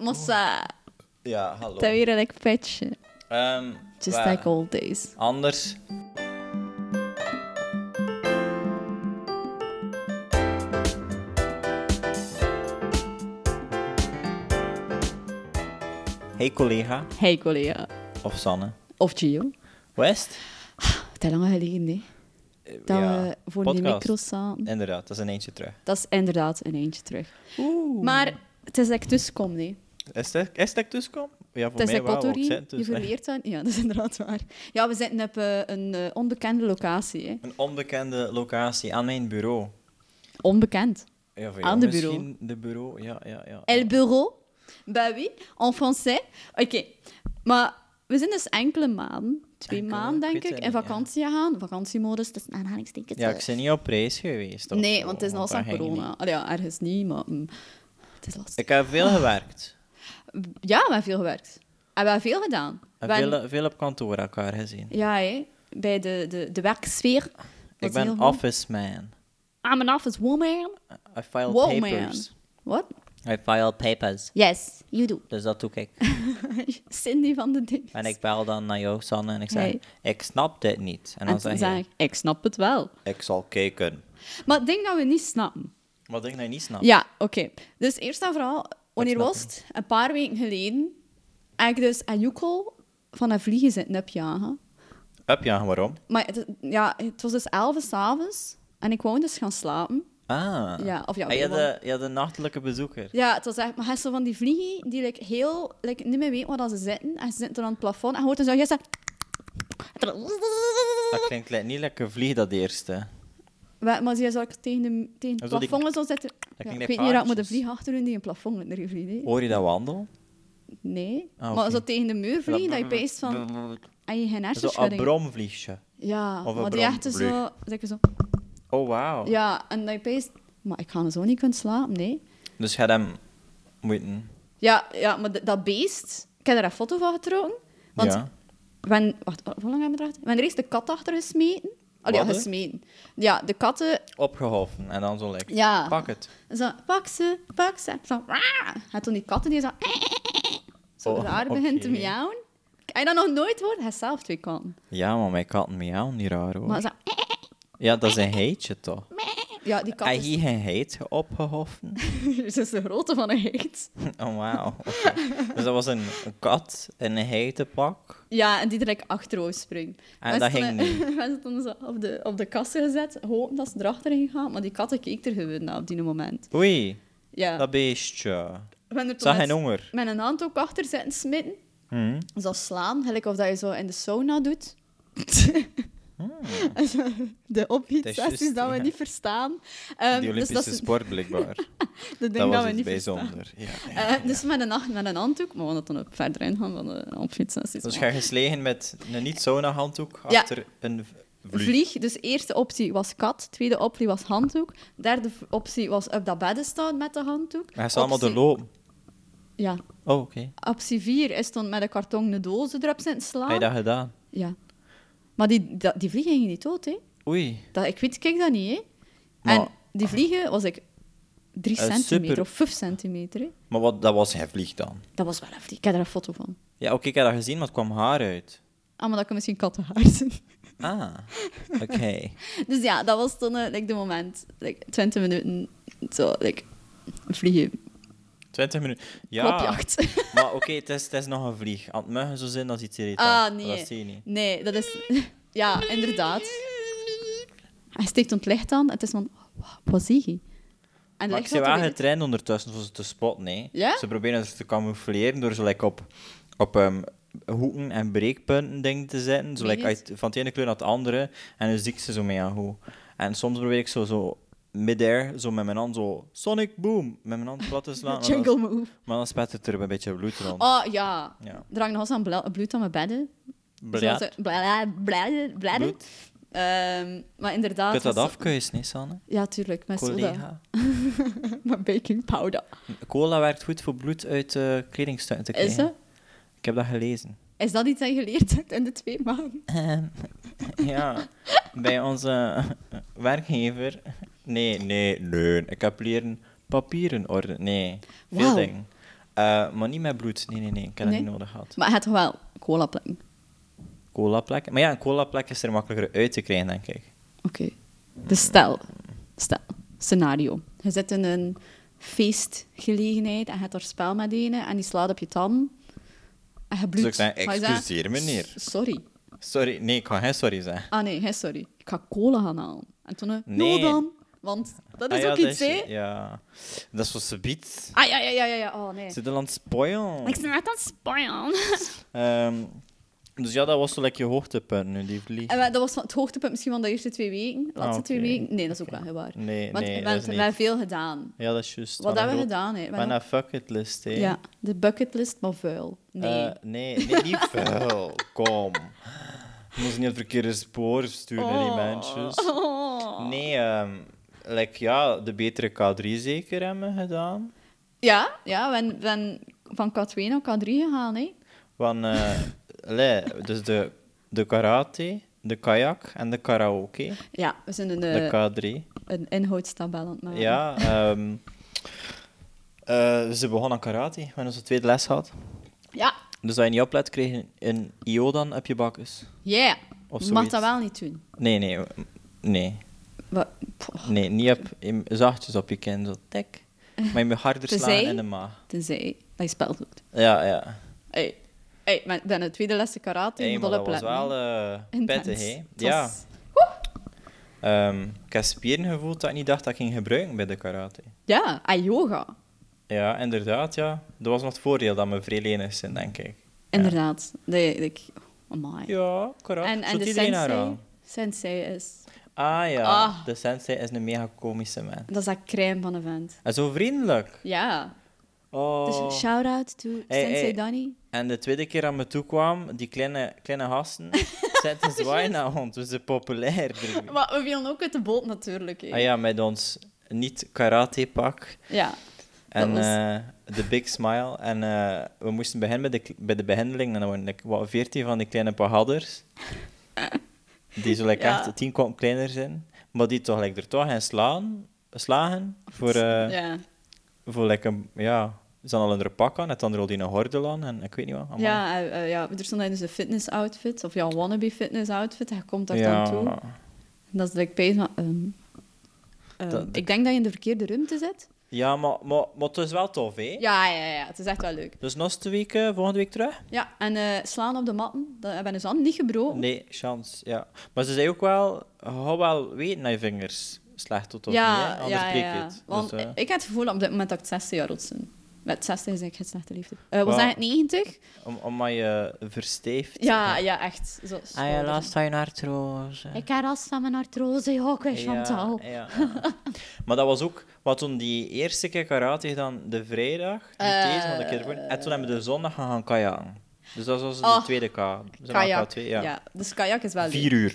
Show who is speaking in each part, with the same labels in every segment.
Speaker 1: Mossa.
Speaker 2: Oh, Ja, hallo.
Speaker 1: Dat weer een like, petje.
Speaker 2: Ehm,
Speaker 1: Just
Speaker 2: waar-
Speaker 1: like old days.
Speaker 2: Anders. Hey collega,
Speaker 1: Hey collega.
Speaker 2: of Sanne.
Speaker 1: Of Gio.
Speaker 2: West?
Speaker 1: Het is lang geleden, hè? Dat
Speaker 2: Ja,
Speaker 1: we voor die
Speaker 2: podcast.
Speaker 1: micro's staan.
Speaker 2: Inderdaad, dat is een eentje terug.
Speaker 1: Dat is inderdaad een eentje terug. Maar het is dat ik tussenkom, nee.
Speaker 2: Is dat, is dat ik tussenkom? Ja, voor
Speaker 1: Het is
Speaker 2: mij
Speaker 1: dat
Speaker 2: wel. want ik
Speaker 1: Kotori.
Speaker 2: zit
Speaker 1: Je
Speaker 2: dus-
Speaker 1: verleert dan. Ja, dat is inderdaad waar. Ja, we zitten op eh, een eh, onbekende locatie, hè.
Speaker 2: Een onbekende locatie aan mijn bureau.
Speaker 1: Onbekend.
Speaker 2: Ja, voor
Speaker 1: Aan
Speaker 2: jou
Speaker 1: de bureau.
Speaker 2: misschien, De bureau, ja, ja, ja.
Speaker 1: El bureau. Bah oui, en français. Oké. Maar we zijn dus enkele maanden, twee
Speaker 2: Enkele,
Speaker 1: maanden
Speaker 2: ik weet
Speaker 1: denk ik,
Speaker 2: het
Speaker 1: in
Speaker 2: niet,
Speaker 1: vakantie gaan. Vakantiemodus, dus aanhalingstekens.
Speaker 2: Ja, ik ben niet op reis geweest. of
Speaker 1: Nee,
Speaker 2: zo,
Speaker 1: want het is nog
Speaker 2: dat
Speaker 1: steeds
Speaker 2: ging
Speaker 1: corona.
Speaker 2: niet.
Speaker 1: Allee, ja, ergens niet, maar mm, het is lastig.
Speaker 2: Ik heb veel gewerkt.
Speaker 1: Ja, we hebben veel gewerkt. En we hebben veel gedaan.
Speaker 2: En
Speaker 1: We hebben-
Speaker 2: veel, veel op kantoor elkaar gezien.
Speaker 1: Ja, hè. bij de, de, de werksfeer.
Speaker 2: Ik
Speaker 1: was heel
Speaker 2: ben
Speaker 1: goed. Ah,
Speaker 2: office man.
Speaker 1: I'm an office woman.
Speaker 2: I file
Speaker 1: Wow,
Speaker 2: papers.
Speaker 1: What?
Speaker 2: I file papers.
Speaker 1: Yes, you do.
Speaker 2: Dus dat doe ik.
Speaker 1: Cindy van de dingen.
Speaker 2: En ik bel dan naar jou, Sanne, en ik zeg,
Speaker 1: Hey.
Speaker 2: ik snap dit niet. En
Speaker 1: En
Speaker 2: dan
Speaker 1: toen
Speaker 2: zeg
Speaker 1: zei
Speaker 2: je,
Speaker 1: ik, ik snap het wel.
Speaker 2: ik zal kijken.
Speaker 1: Maar het ding dat we niet snappen.
Speaker 2: Wat ik nou niet snap.
Speaker 1: Ja, oké. Dus eerst en vooral, wanneer
Speaker 2: snap
Speaker 1: was het? Een paar weken geleden heb ik dus aan Joekel van een vliegen zitten opjagen.
Speaker 2: Up, ja, waarom?
Speaker 1: Maar het, ja, het was dus 11 uur s'avonds en ik wou dus gaan slapen.
Speaker 2: Ah.
Speaker 1: Ja, of ja,
Speaker 2: Ah, je, had
Speaker 1: waarom?
Speaker 2: de, je had de nachtelijke bezoeker.
Speaker 1: Ja, het was echt, maar je hebt zo van die vliegen die like, heel, like, niet meer weten waar ze zitten. En ze zitten dan aan het plafond en je hoort dan zo, je zegt...
Speaker 2: Dat klinkt li- niet lekker vlieg, dat eerste.
Speaker 1: Maar maar ze is ook tegen, de, tegen het
Speaker 2: Zo die-
Speaker 1: plafond zo zitten. Ja,
Speaker 2: klinkt
Speaker 1: ik
Speaker 2: like
Speaker 1: weet niet dat ik moet een
Speaker 2: paardjes.
Speaker 1: vlieg achter doen die een plafond in de rivier. nee.
Speaker 2: Hoor je dat wandel?
Speaker 1: Nee.
Speaker 2: Ah, oké.
Speaker 1: Maar zo tegen de muur vliegen, dat je peest van... En je geen
Speaker 2: Zo een
Speaker 1: hersenschudding.
Speaker 2: bromvliegje.
Speaker 1: Ja,
Speaker 2: Of een
Speaker 1: maar die
Speaker 2: brom-
Speaker 1: echt
Speaker 2: vlieg.
Speaker 1: zo... zeker zo...
Speaker 2: Oh, wauw.
Speaker 1: Ja, en dat je peest... Maar ik ga zo niet kunnen slapen, nee.
Speaker 2: Dus je had hem moeten...
Speaker 1: Ja, ja maar d- dat beest... Ik heb daar een foto van getrokken. Want
Speaker 2: ja.
Speaker 1: Wen, wacht, hoe lang hebben we erachter? We hebben er eerst de kat achter gesmeten. Allee, ja,
Speaker 2: Wat, hè?
Speaker 1: gesmeten. Ja, de katten...
Speaker 2: Opgeholpen en dan zo lekker.
Speaker 1: Ja.
Speaker 2: Pak het.
Speaker 1: Zo, pak ze, pak ze. Zo, "Waa!" en toen die katten die zo... Zo
Speaker 2: Oh,
Speaker 1: raar
Speaker 2: oké.
Speaker 1: begint te miauwen. Heb je dat nog nooit hoort? Hij heeft zelf twee katten.
Speaker 2: Ja, maar mijn katten miauwen niet raar hoor.
Speaker 1: Maar zo...
Speaker 2: Ja, dat is een heetje toch?
Speaker 1: Ja, die kat
Speaker 2: Hij
Speaker 1: is...
Speaker 2: hier geen heet opgehoffen?
Speaker 1: Ze is de grootte van een heet.
Speaker 2: Oh, wauw. Oké. Dus dat was een, een kat in een heitenpak.
Speaker 1: Ja, en die er like, achterover springt.
Speaker 2: En Ah, dat ging niet.
Speaker 1: Mensen stonden zo op de, op de kassen gezet, hopen dat ze erachter heen gaan. Maar die katten keek er gewoon naar op die moment.
Speaker 2: Oei,
Speaker 1: Ja.
Speaker 2: dat beestje.
Speaker 1: We hebben er toen
Speaker 2: Zag hij
Speaker 1: met-
Speaker 2: honger?
Speaker 1: met een hand ook achter zitten smitten.
Speaker 2: Hm?
Speaker 1: Zo slaan, gelijk of dat je zo in de sauna doet. de
Speaker 2: Dat is
Speaker 1: ophietsessies
Speaker 2: Hmm. juist,
Speaker 1: dat we
Speaker 2: ja.
Speaker 1: niet verstaan. Ehm,
Speaker 2: Die Olympische
Speaker 1: dus dat is
Speaker 2: sport, blijkbaar.
Speaker 1: de ding
Speaker 2: dat
Speaker 1: dat,
Speaker 2: was
Speaker 1: we
Speaker 2: iets
Speaker 1: niet verstaan.
Speaker 2: bijzonder. Ja, ja,
Speaker 1: Eh,
Speaker 2: ja.
Speaker 1: Dus met een, hand- met een handdoek, maar we gaan dat dan ook verder ingaan van de ophietsessies.
Speaker 2: Dus
Speaker 1: Maar-
Speaker 2: ga geslegen met een niet-sauna-handdoek
Speaker 1: Ja.
Speaker 2: achter een v- vlieg.
Speaker 1: Vlieg, dus eerste optie was kat, tweede optie was handdoek, derde v- optie was op dat bedden staan met de handdoek.
Speaker 2: Maar hij is allemaal
Speaker 1: Optie-
Speaker 2: doorlopen.
Speaker 1: Ja.
Speaker 2: Oh, oké.
Speaker 1: Optie vier is dan met een kartonnen doos erop zitten slaan.
Speaker 2: Heb je dat gedaan?
Speaker 1: Ja. Maar die, dat- die vliegen gingen niet dood, hè?
Speaker 2: Oei.
Speaker 1: Dat, ik weet, kijk dat niet, hè?
Speaker 2: Maar-
Speaker 1: en die vliegen was ik 3
Speaker 2: Eh,
Speaker 1: centimeter
Speaker 2: super.
Speaker 1: of 5 centimeter. hè.
Speaker 2: Maar wat, dat was hij vlieg dan?
Speaker 1: Dat was wel heftig. Ik heb daar een foto van.
Speaker 2: Ja, oké, ik heb dat gezien, maar het kwam haar uit.
Speaker 1: Ah, maar dat kan misschien kattenhaar zijn.
Speaker 2: Ah, oké.
Speaker 1: Dus ja, dat was toen eh, like, de moment. Like, 20 minuten, zo, like, vliegen,
Speaker 2: 20 minuten. Ja.
Speaker 1: klopjacht.
Speaker 2: Maar oké, het, is, het is nog een vlieg. Aan het muggen zo zijn, dat is iets irritants.
Speaker 1: ah, nee.
Speaker 2: Dat zie je niet.
Speaker 1: Nee, dat is... Ja, inderdaad. Hij steekt ont licht aan en het is van... "Wa- Wat zie je? En
Speaker 2: Maar
Speaker 1: ligt
Speaker 2: ik zie
Speaker 1: dat
Speaker 2: wel
Speaker 1: er-
Speaker 2: getraind ondertussen voor ze te spotten. hè.
Speaker 1: Ja?
Speaker 2: Ze proberen ze te camoufleren door zo like, op, op ehm, hoeken en breekpunten dingen te zetten. Zo,
Speaker 1: Meen
Speaker 2: like,
Speaker 1: je
Speaker 2: uit- van het ene kleur naar het andere. En dan zie ik ze zo mee aan hoe. En soms probeer ik zo, zo mid-air, zo met mijn hand zo... Sonic Boom! Met mijn hand plat te slaan. maar dan-
Speaker 1: Jungle move.
Speaker 2: Maar dan spettert er een beetje bloed rond.
Speaker 1: Oh, ja.
Speaker 2: Ja.
Speaker 1: Er hangt nog eens aan bla- bloed aan mijn bedden.
Speaker 2: Bloed.
Speaker 1: Zoals, eh, bla- bla- bla- bla-
Speaker 2: Bloed.
Speaker 1: Ehm, maar inderdaad...
Speaker 2: Je
Speaker 1: met
Speaker 2: kunt dat
Speaker 1: zo-
Speaker 2: afkuisen, hè, Sanne?
Speaker 1: Ja, tuurlijk. Met soda.
Speaker 2: Collega.
Speaker 1: Met baking powder.
Speaker 2: Cola werkt goed voor bloed uit eh kledingstukken te krijgen.
Speaker 1: Is, dat,
Speaker 2: Ik heb dat gelezen.
Speaker 1: is dat iets dat je geleerd hebt in de twee maanden?
Speaker 2: Ehm, ja, bij onze werkgever. Nee, nee, nee. Ik heb leren papieren ordenen. Nee, veel
Speaker 1: Wauw.
Speaker 2: dingen. Eh, maar niet met bloed. Nee, nee, nee. Ik heb
Speaker 1: Nee?
Speaker 2: dat niet nodig gehad.
Speaker 1: Maar het toch wel cola plekken.
Speaker 2: Cola plek. Maar ja, een cola plek is er makkelijker uit te krijgen, denk ik.
Speaker 1: Oké. Dus stel, stel, scenario. Je zit in een feestgelegenheid en je hebt daar spel met ene en die slaat op je tand. En je bloedt.
Speaker 2: ik zeggen,
Speaker 1: Ga je zeggen,
Speaker 2: "Excuseer, meneer."
Speaker 1: "S- Sorry.
Speaker 2: Sorry. Nee, ik ga geen sorry zeggen.
Speaker 1: Ah nee, hè, sorry. Ik ga cola gaan halen. En toen, eh,
Speaker 2: Nee.
Speaker 1: no dan. Want dat is
Speaker 2: Ah ja,
Speaker 1: ook iets, hè?
Speaker 2: Ja. Dat is wat ze biedt.
Speaker 1: Ah ja, ja, ja, ja, ja. Oh nee.
Speaker 2: Ze aan het spoilen.
Speaker 1: Ik ben net aan het spoilen.
Speaker 2: Ehm, dus ja, dat was zo lekker je hoogtepunt nu, die vlieg.
Speaker 1: En we- dat was van- het hoogtepunt misschien van de eerste twee weken. De laatste
Speaker 2: Ah,
Speaker 1: twee
Speaker 2: oké.
Speaker 1: weken. Nee, dat is ook wel heel waar.
Speaker 2: Nee,
Speaker 1: Want
Speaker 2: nee,
Speaker 1: we
Speaker 2: dat is
Speaker 1: hebben we
Speaker 2: niet.
Speaker 1: hebben veel gedaan.
Speaker 2: Ja, dat is juist.
Speaker 1: Wat hebben we gedaan? Hè? We
Speaker 2: Bijna
Speaker 1: hebben-
Speaker 2: bucketlist, hè.
Speaker 1: Ja, de bucketlist, maar vuil. Nee.
Speaker 2: Eh, nee, nee, niet vuil. Kom. Je moet ze niet op het verkeerde spoor sturen, hè, die mensen.
Speaker 1: Oh.
Speaker 2: Nee, ehm, like, ja, de betere K3 zeker hebben we gedaan.
Speaker 1: Ja, ja, we zijn- we zijn van K2 naar K3 gegaan, hè.
Speaker 2: Van, eh, le, dus de, de karate, de kajak en de karaoke.
Speaker 1: Ja, we zijn een,
Speaker 2: De
Speaker 1: eh,
Speaker 2: K3.
Speaker 1: een inhoudstabel aan het maken.
Speaker 2: Ja, ehm, eh, ze begon aan karate wanneer ze tweede les had.
Speaker 1: Ja,
Speaker 2: Dus als je niet oplet, kreeg je een IO dan op je bakjes.
Speaker 1: yeah.
Speaker 2: Of
Speaker 1: Je mag
Speaker 2: zoiets.
Speaker 1: dat wel niet doen.
Speaker 2: Nee, nee, nee.
Speaker 1: Wat- poh,
Speaker 2: Nee, niet op, in, zachtjes op je kin, zo tik. Maar je moet harder
Speaker 1: Tenzij-
Speaker 2: slaan in de maag.
Speaker 1: Tenzij dat je spel doet.
Speaker 2: Ja, ja.
Speaker 1: Hé, hey, maar dan het tweede lesje karate,
Speaker 2: Hey,
Speaker 1: je
Speaker 2: maar
Speaker 1: moet
Speaker 2: dat was
Speaker 1: opletten.
Speaker 2: wel eh,
Speaker 1: Intens.
Speaker 2: pittig, hè?
Speaker 1: Het
Speaker 2: Ja.
Speaker 1: was-
Speaker 2: Ehm, ik heb spieren gevoeld dat ik niet dacht dat ik ging gebruiken bij de karate.
Speaker 1: Ja, en yoga.
Speaker 2: Ja, inderdaad, ja. Dat was nog het voordeel dat we vrij lenig zijn, denk ik.
Speaker 1: Inderdaad. Nee, ik... Amai.
Speaker 2: Ja, correct.
Speaker 1: En, en
Speaker 2: Zult
Speaker 1: de
Speaker 2: iedereen haar
Speaker 1: sensei,
Speaker 2: aan?
Speaker 1: sensei is...
Speaker 2: Ah ja,
Speaker 1: Ah.
Speaker 2: de sensei is een mega komische man.
Speaker 1: Dat is dat crème van een vent.
Speaker 2: En zo vriendelijk.
Speaker 1: Ja.
Speaker 2: Oh.
Speaker 1: Dus shout-out to Sensei
Speaker 2: hey.
Speaker 1: Danny.
Speaker 2: En de tweede keer aan me toe kwam, die kleine, kleine gasten, zetten zwaaien naar ons. We zijn populair.
Speaker 1: Maar we vielen ook uit de boot natuurlijk. hè.
Speaker 2: Ah ja, met ons niet-karate-pak.
Speaker 1: Ja.
Speaker 2: En
Speaker 1: was-
Speaker 2: eh, de big smile. En eh, we moesten beginnen bij de, k- bij de behandeling. En dan waren like, wat, 14 van die kleine pahadders. Die zo like,
Speaker 1: Ja.
Speaker 2: echt tien kwam kleiner zijn. Maar die toch like, er toch gaan slaan, slagen. Voor, eh,
Speaker 1: ja.
Speaker 2: voor like, een, ja, ze hadden al een pak aan. En dan rolde die een gordel aan. En ik weet niet wat. allemaal.
Speaker 1: Ja, eh, eh, ja, er stond hij dus een fitness outfit, of jouw wannabe fitness outfit. Hij komt daar
Speaker 2: Ja.
Speaker 1: dan toe. En dat is direct bij maar ehm, ehm,
Speaker 2: Dat- dat-
Speaker 1: ik denk dat je in de verkeerde ruimte zit.
Speaker 2: Ja, maar, maar, maar het is wel tof, hè?
Speaker 1: Ja, ja, ja, het is echt wel leuk.
Speaker 2: Dus nog twee weken, volgende week terug?
Speaker 1: Ja, en eh, slaan op de matten, dat hebben ze hand niet gebroken.
Speaker 2: Nee, chance, ja. Maar ze zei ook wel, hou wel weten naar je vingers slecht tot of niet, hè? anders breek je het.
Speaker 1: Want
Speaker 2: Dus, eh,
Speaker 1: ik heb het gevoel op dit moment dat ik 60 jaar oud ben. Met 60 is ik geen slechte liefde. Eh was
Speaker 2: Wel.
Speaker 1: dat het 90?
Speaker 2: om, omdat je verstijft.
Speaker 1: Ja, ja, echt. Zo,
Speaker 2: Ah, je last van je artrose.
Speaker 1: Ik heb last van mijn artrose, ook, hè, Chantal.
Speaker 2: Ja, ja, ja. maar dat was ook, wat toen die eerste keer karate gedaan, de vrijdag, niet
Speaker 1: Eh,
Speaker 2: deze, maar de keer ervoor. En toen hebben we de zondag gaan gaan kajaken. Dus dat was de
Speaker 1: Oh,
Speaker 2: tweede K. Dus dan
Speaker 1: Kajak.
Speaker 2: K2,
Speaker 1: ja.
Speaker 2: ja.
Speaker 1: dus kajak is wel leuk.
Speaker 2: Vier uur.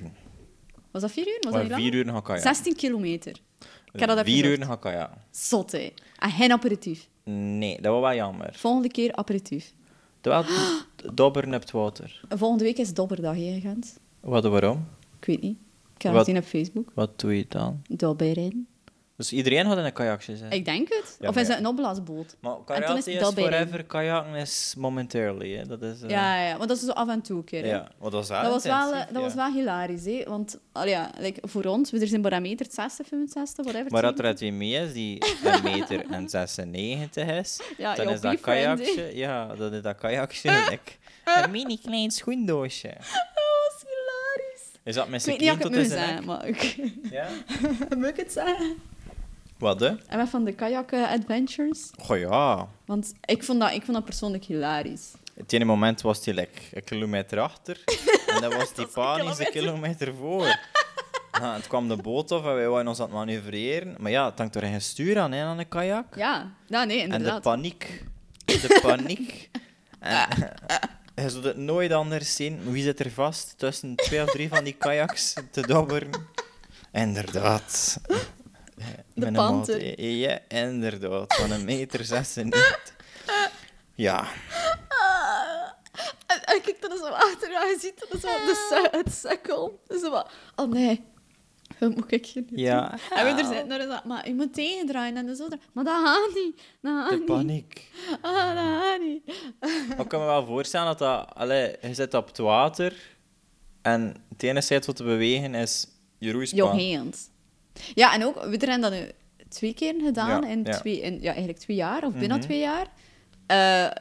Speaker 1: Was dat vier uur? Was dat
Speaker 2: Maar
Speaker 1: niet lang?
Speaker 2: vier uur gaan kajaken.
Speaker 1: 16 kilometer. Ik heb dat even
Speaker 2: Vier uur
Speaker 1: gezocht.
Speaker 2: gaan kajaken.
Speaker 1: Zot, hè. En geen aperitief.
Speaker 2: Nee, dat was wel jammer.
Speaker 1: Volgende keer aperitief.
Speaker 2: Terwijl het dobberen op het water.
Speaker 1: Volgende week is dobberdag hier in Gent.
Speaker 2: Wat waarom?
Speaker 1: Ik weet niet. Ik heb
Speaker 2: Wat?
Speaker 1: het gezien op Facebook.
Speaker 2: Wat doe je dan?
Speaker 1: Dobberen.
Speaker 2: Dus iedereen had in een kajakje zijn.
Speaker 1: Ik denk het.
Speaker 2: Ja,
Speaker 1: of
Speaker 2: maar
Speaker 1: is
Speaker 2: ja.
Speaker 1: het een opblaasboot?
Speaker 2: Maar
Speaker 1: En toen is
Speaker 2: karate is,
Speaker 1: dobberen.
Speaker 2: forever, kajaken is momentarily. Hè. Dat is, eh,
Speaker 1: Ja, ja, maar dat is zo af en toe een keer. hè.
Speaker 2: ja. Wat was dat?
Speaker 1: Dat was, wel, eh,
Speaker 2: intensief,
Speaker 1: dat was
Speaker 2: ja.
Speaker 1: wel hilarisch, hè? want al ja, like, voor ons, we er zijn barometer 60, 65, whatever.
Speaker 2: Maar dat
Speaker 1: het
Speaker 2: er uit wie mee is die een meter en 96 is,
Speaker 1: Ja,
Speaker 2: dan
Speaker 1: jouw
Speaker 2: is dat
Speaker 1: boyfriend, hè.
Speaker 2: kajakje. Ja, dan is dat kajakje gelijk. Een mini klein schoendoosje.
Speaker 1: zijn. Dat was hilarisch.
Speaker 2: Is dat met
Speaker 1: Ik
Speaker 2: zijn
Speaker 1: weet niet of
Speaker 2: knie
Speaker 1: ik het
Speaker 2: tot
Speaker 1: moet
Speaker 2: in zijn nek?
Speaker 1: zeggen, maar ik...
Speaker 2: Ja.
Speaker 1: moet ik het zeggen?
Speaker 2: Wat hè?
Speaker 1: En wat van de kajak eh, adventures,
Speaker 2: Goh ja.
Speaker 1: want ik vond, dat, ik vond dat persoonlijk hilarisch.
Speaker 2: Het ene moment was die like, een kilometer achter en dan was die
Speaker 1: was een
Speaker 2: panische kilometer voor. Ja, het kwam de boot af en wij waren ons aan het manoeuvreren. Maar ja, het hangt er geen stuur aan, hè, aan een kajak.
Speaker 1: Ja, nou, nee,
Speaker 2: en de
Speaker 1: inderdaad.
Speaker 2: paniek. De paniek. En, je zult het nooit anders zien. Wie zit er vast tussen twee of drie van die kajaks te dobberen? Inderdaad. Met een maat,
Speaker 1: panter.
Speaker 2: hè. Ja, inderdaad. Van een meter 96. Ja.
Speaker 1: Ah. En, en kijk, dan is hem achter, ja, je ziet dat is wel de su- het sukkel. Dus zo wat, oh nee, film moet ik je niet
Speaker 2: Ja.
Speaker 1: doen. En we er zitten er zo, maar je moet tegendraaien en zo. Maar dat gaat niet. Dat gaat
Speaker 2: De
Speaker 1: niet.
Speaker 2: paniek.
Speaker 1: Ah, dat gaat niet.
Speaker 2: Maar ik kan me wel voorstellen dat dat... Allee, je zit op het water en het enige tijd wat te bewegen is je
Speaker 1: Your
Speaker 2: roeispan.
Speaker 1: hands. Ja, en ook, we hebben dat nu twee keer gedaan
Speaker 2: Ja,
Speaker 1: in,
Speaker 2: ja. Mhm.
Speaker 1: Twee, in ja, eigenlijk twee jaar, of binnen twee jaar. Eh,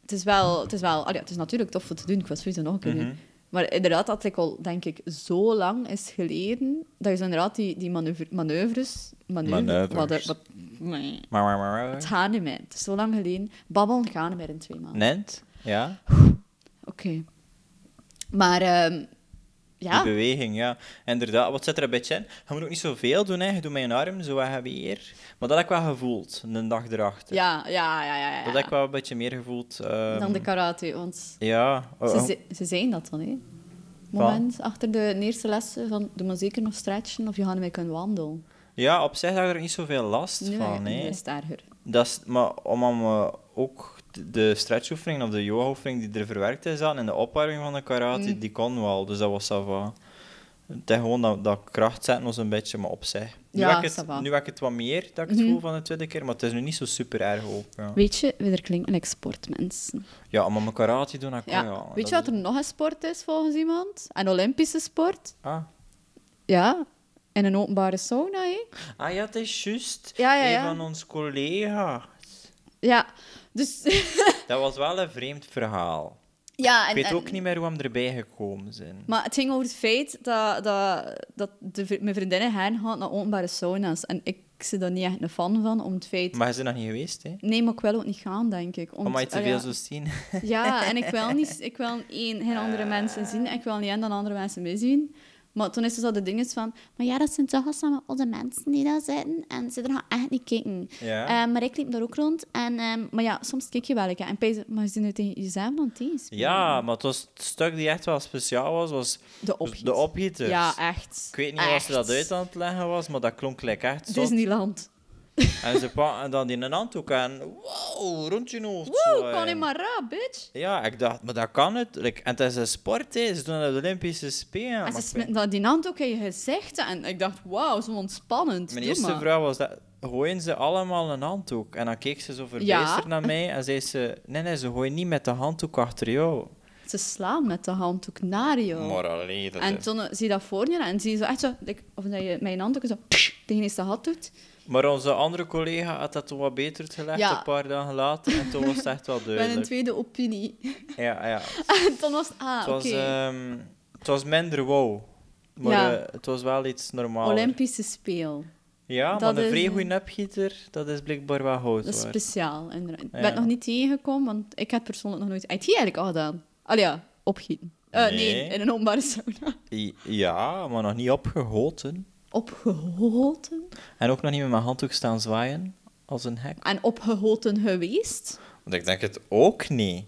Speaker 1: het is wel, het is wel, allee, het is natuurlijk tof om te doen, ik was sowieso nog een keer
Speaker 2: Mhm.
Speaker 1: doen. Maar inderdaad, dat ik al, denk ik, zo lang is geleden, dat je zo inderdaad die, die manoeuvre- manoeuvres... Manoeuvres. Wat,
Speaker 2: Manoeuvres.
Speaker 1: wat, nee.
Speaker 2: Maar, maar, maar,
Speaker 1: Het
Speaker 2: maar.
Speaker 1: gaat niet meer. Het is zo lang geleden. Babbelen gaan niet meer in twee maanden.
Speaker 2: Nent? Ja?
Speaker 1: Oké. Maar, ehm,
Speaker 2: Die
Speaker 1: ja.
Speaker 2: beweging, ja. Inderdaad, wat zit er een beetje in? Je moet ook niet zoveel doen, hè. Je doet met je arm, zo wat heb je hier. Maar dat heb ik wel gevoeld, een dag erachter.
Speaker 1: Ja, ja, ja, ja. ja,
Speaker 2: Dat heb ik wel een beetje meer gevoeld. ehm,
Speaker 1: Dan de karate, want...
Speaker 2: Ja. oh,
Speaker 1: Ze,
Speaker 2: oh.
Speaker 1: ze, ze zijn dat dan, hè? Moment achter de eerste lessen van doe maar zeker nog stretchen of je gaat mee kunnen wandelen.
Speaker 2: Ja, op zich had ik er niet zoveel last
Speaker 1: Nu
Speaker 2: van, Oh.
Speaker 1: nu
Speaker 2: hè.
Speaker 1: is het erger.
Speaker 2: Dat is, maar om aan eh, ook de- de stretchoefening of de yoga-oefening die er verwerkt is aan en de opwarming van de karate,
Speaker 1: Mm.
Speaker 2: die kon wel, dus dat was ça va. Het is gewoon dat, dat kracht zetten ons een beetje, maar opzij. Nu,
Speaker 1: Ja,
Speaker 2: heb ik
Speaker 1: ça va. Mhm.
Speaker 2: het, nu heb ik het wat meer, dat ik het voel van de tweede keer, maar het is nu niet zo super erg ook. Ja,
Speaker 1: Weet je, we er klinken like sportmensen.
Speaker 2: ja maar mijn karate doen, dat kan
Speaker 1: Ja.
Speaker 2: wel.
Speaker 1: Weet je
Speaker 2: Dat
Speaker 1: wat er nog een sport is volgens iemand? Een Olympische sport?
Speaker 2: is- Ah.
Speaker 1: Ja. In een openbare sauna, hè?
Speaker 2: ah ja, het is juist.
Speaker 1: Ja, ja,
Speaker 2: Een
Speaker 1: ja.
Speaker 2: van ons collega's.
Speaker 1: Ja. Dus...
Speaker 2: Dat was wel een vreemd verhaal.
Speaker 1: ja, en,
Speaker 2: Ik weet
Speaker 1: en-
Speaker 2: ook niet meer hoe we erbij gekomen zijn.
Speaker 1: Maar het ging over het feit dat, dat, dat de, vri- mijn vriendinnen gaan gaan naar openbare sauna's. En ik zit daar niet echt een fan van, om het feit...
Speaker 2: Maar ze zijn nog niet geweest, hè?
Speaker 1: Nee, maar ik wil ook niet gaan, denk ik. Om
Speaker 2: Omdat je
Speaker 1: het-
Speaker 2: te
Speaker 1: ah,
Speaker 2: veel
Speaker 1: ja.
Speaker 2: zo zien.
Speaker 1: Ja, en ik wil, niet, ik wil één, geen andere mensen zien. En ik wil niet en dan andere mensen meezien. Maar toen is dus al de ding is van... Maar ja, dat zijn toch al samen oude mensen die daar zitten. En ze gaan echt niet kijken.
Speaker 2: Ja.
Speaker 1: Eh, maar ik liep daar ook rond. En, ehm, maar ja, soms kijk je wel. hè. En pees, maar ze doen het tegen jezelf dan eens.
Speaker 2: Ja, maar het, was het stuk die echt wel speciaal was, was
Speaker 1: De opgieters.
Speaker 2: de opgieters.
Speaker 1: Ja, echt.
Speaker 2: Ik weet niet of ze
Speaker 1: Ah, Echt.
Speaker 2: dat
Speaker 1: Dus
Speaker 2: uit aan het leggen was, maar dat klonk like echt zot.
Speaker 1: Disneyland.
Speaker 2: En ze pakken dan die een handdoek en wow, rond je hoofd. zo,
Speaker 1: Woe,
Speaker 2: en-
Speaker 1: kan maar raar, bitch.
Speaker 2: Ja, ik dacht, maar dat kan het. Like, en het is een sport, hè. ze doen dat op de Olympische Spelen.
Speaker 1: En
Speaker 2: maar
Speaker 1: Ah, ze
Speaker 2: ik
Speaker 1: smitten dat die hand ook in je gezicht. En ik dacht, wauw, zo ontspannend.
Speaker 2: Mijn
Speaker 1: Doe
Speaker 2: eerste
Speaker 1: maar.
Speaker 2: vraag was dat. Gooien ze allemaal een handdoek? En dan keek ze zo verbijsterd
Speaker 1: Ja.
Speaker 2: naar mij en zei ze... Nee, nee, ze gooien niet met de handdoek achter jou.
Speaker 1: Ze slaan met de handdoek naar je.
Speaker 2: Maar allee, dat
Speaker 1: En
Speaker 2: is-
Speaker 1: toen eh, zie je dat voor je en zie je zo echt zo, like, of dat je mijn handdoek zo tegen eens de hand doet.
Speaker 2: Maar onze andere collega had dat toen wat beter gelegd,
Speaker 1: Ja.
Speaker 2: een paar dagen later. En toen was het echt wel
Speaker 1: Met een
Speaker 2: duidelijk.
Speaker 1: tweede opinie.
Speaker 2: Ja, ja.
Speaker 1: En toen was het, ah,
Speaker 2: Het,
Speaker 1: oké,
Speaker 2: was, ehm, het was minder wow. Maar
Speaker 1: Ja.
Speaker 2: eh, het was wel iets normaal.
Speaker 1: Olympische speel.
Speaker 2: Ja,
Speaker 1: Dat
Speaker 2: maar een
Speaker 1: is- eh,
Speaker 2: vrij goede opgieter, dat is blijkbaar wel goud
Speaker 1: Dat is
Speaker 2: waard.
Speaker 1: speciaal. En ik ben
Speaker 2: Ja.
Speaker 1: het nog niet tegengekomen, want ik heb persoonlijk nog nooit... Heb je eigenlijk al gedaan? Al ja, opgieten. Eh, nee.
Speaker 2: Nee.
Speaker 1: in een openbare sauna.
Speaker 2: I- Ja, maar nog niet opgegoten.
Speaker 1: Opgehoten.
Speaker 2: En ook nog niet met mijn handdoek staan zwaaien, als een hek.
Speaker 1: En opgehoten geweest.
Speaker 2: Want ik denk het ook niet.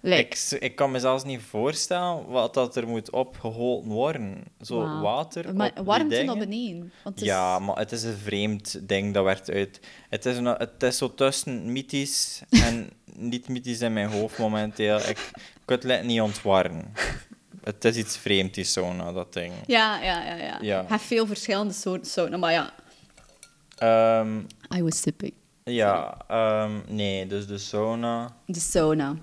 Speaker 1: Like,
Speaker 2: Ik, s- ik kan me zelfs niet voorstellen wat dat er moet opgeholpen worden. Zo
Speaker 1: wauw.
Speaker 2: water
Speaker 1: Maar
Speaker 2: op die
Speaker 1: warmte
Speaker 2: dingen.
Speaker 1: naar beneden. Want het is-
Speaker 2: Ja, maar het is een vreemd ding dat werd uit. Het is, een, het is zo tussen mythisch en niet mythisch in mijn hoofd momenteel. Ik, ik kan het let niet ontwarren. Het is iets vreemd, die sauna, dat ding.
Speaker 1: Ja, ja, ja. ja.
Speaker 2: Ja.
Speaker 1: Je hebt veel verschillende soorten sauna, maar ja.
Speaker 2: Ehm,
Speaker 1: I was sipping.
Speaker 2: ja, ehm, nee, dus de sauna.
Speaker 1: De sauna.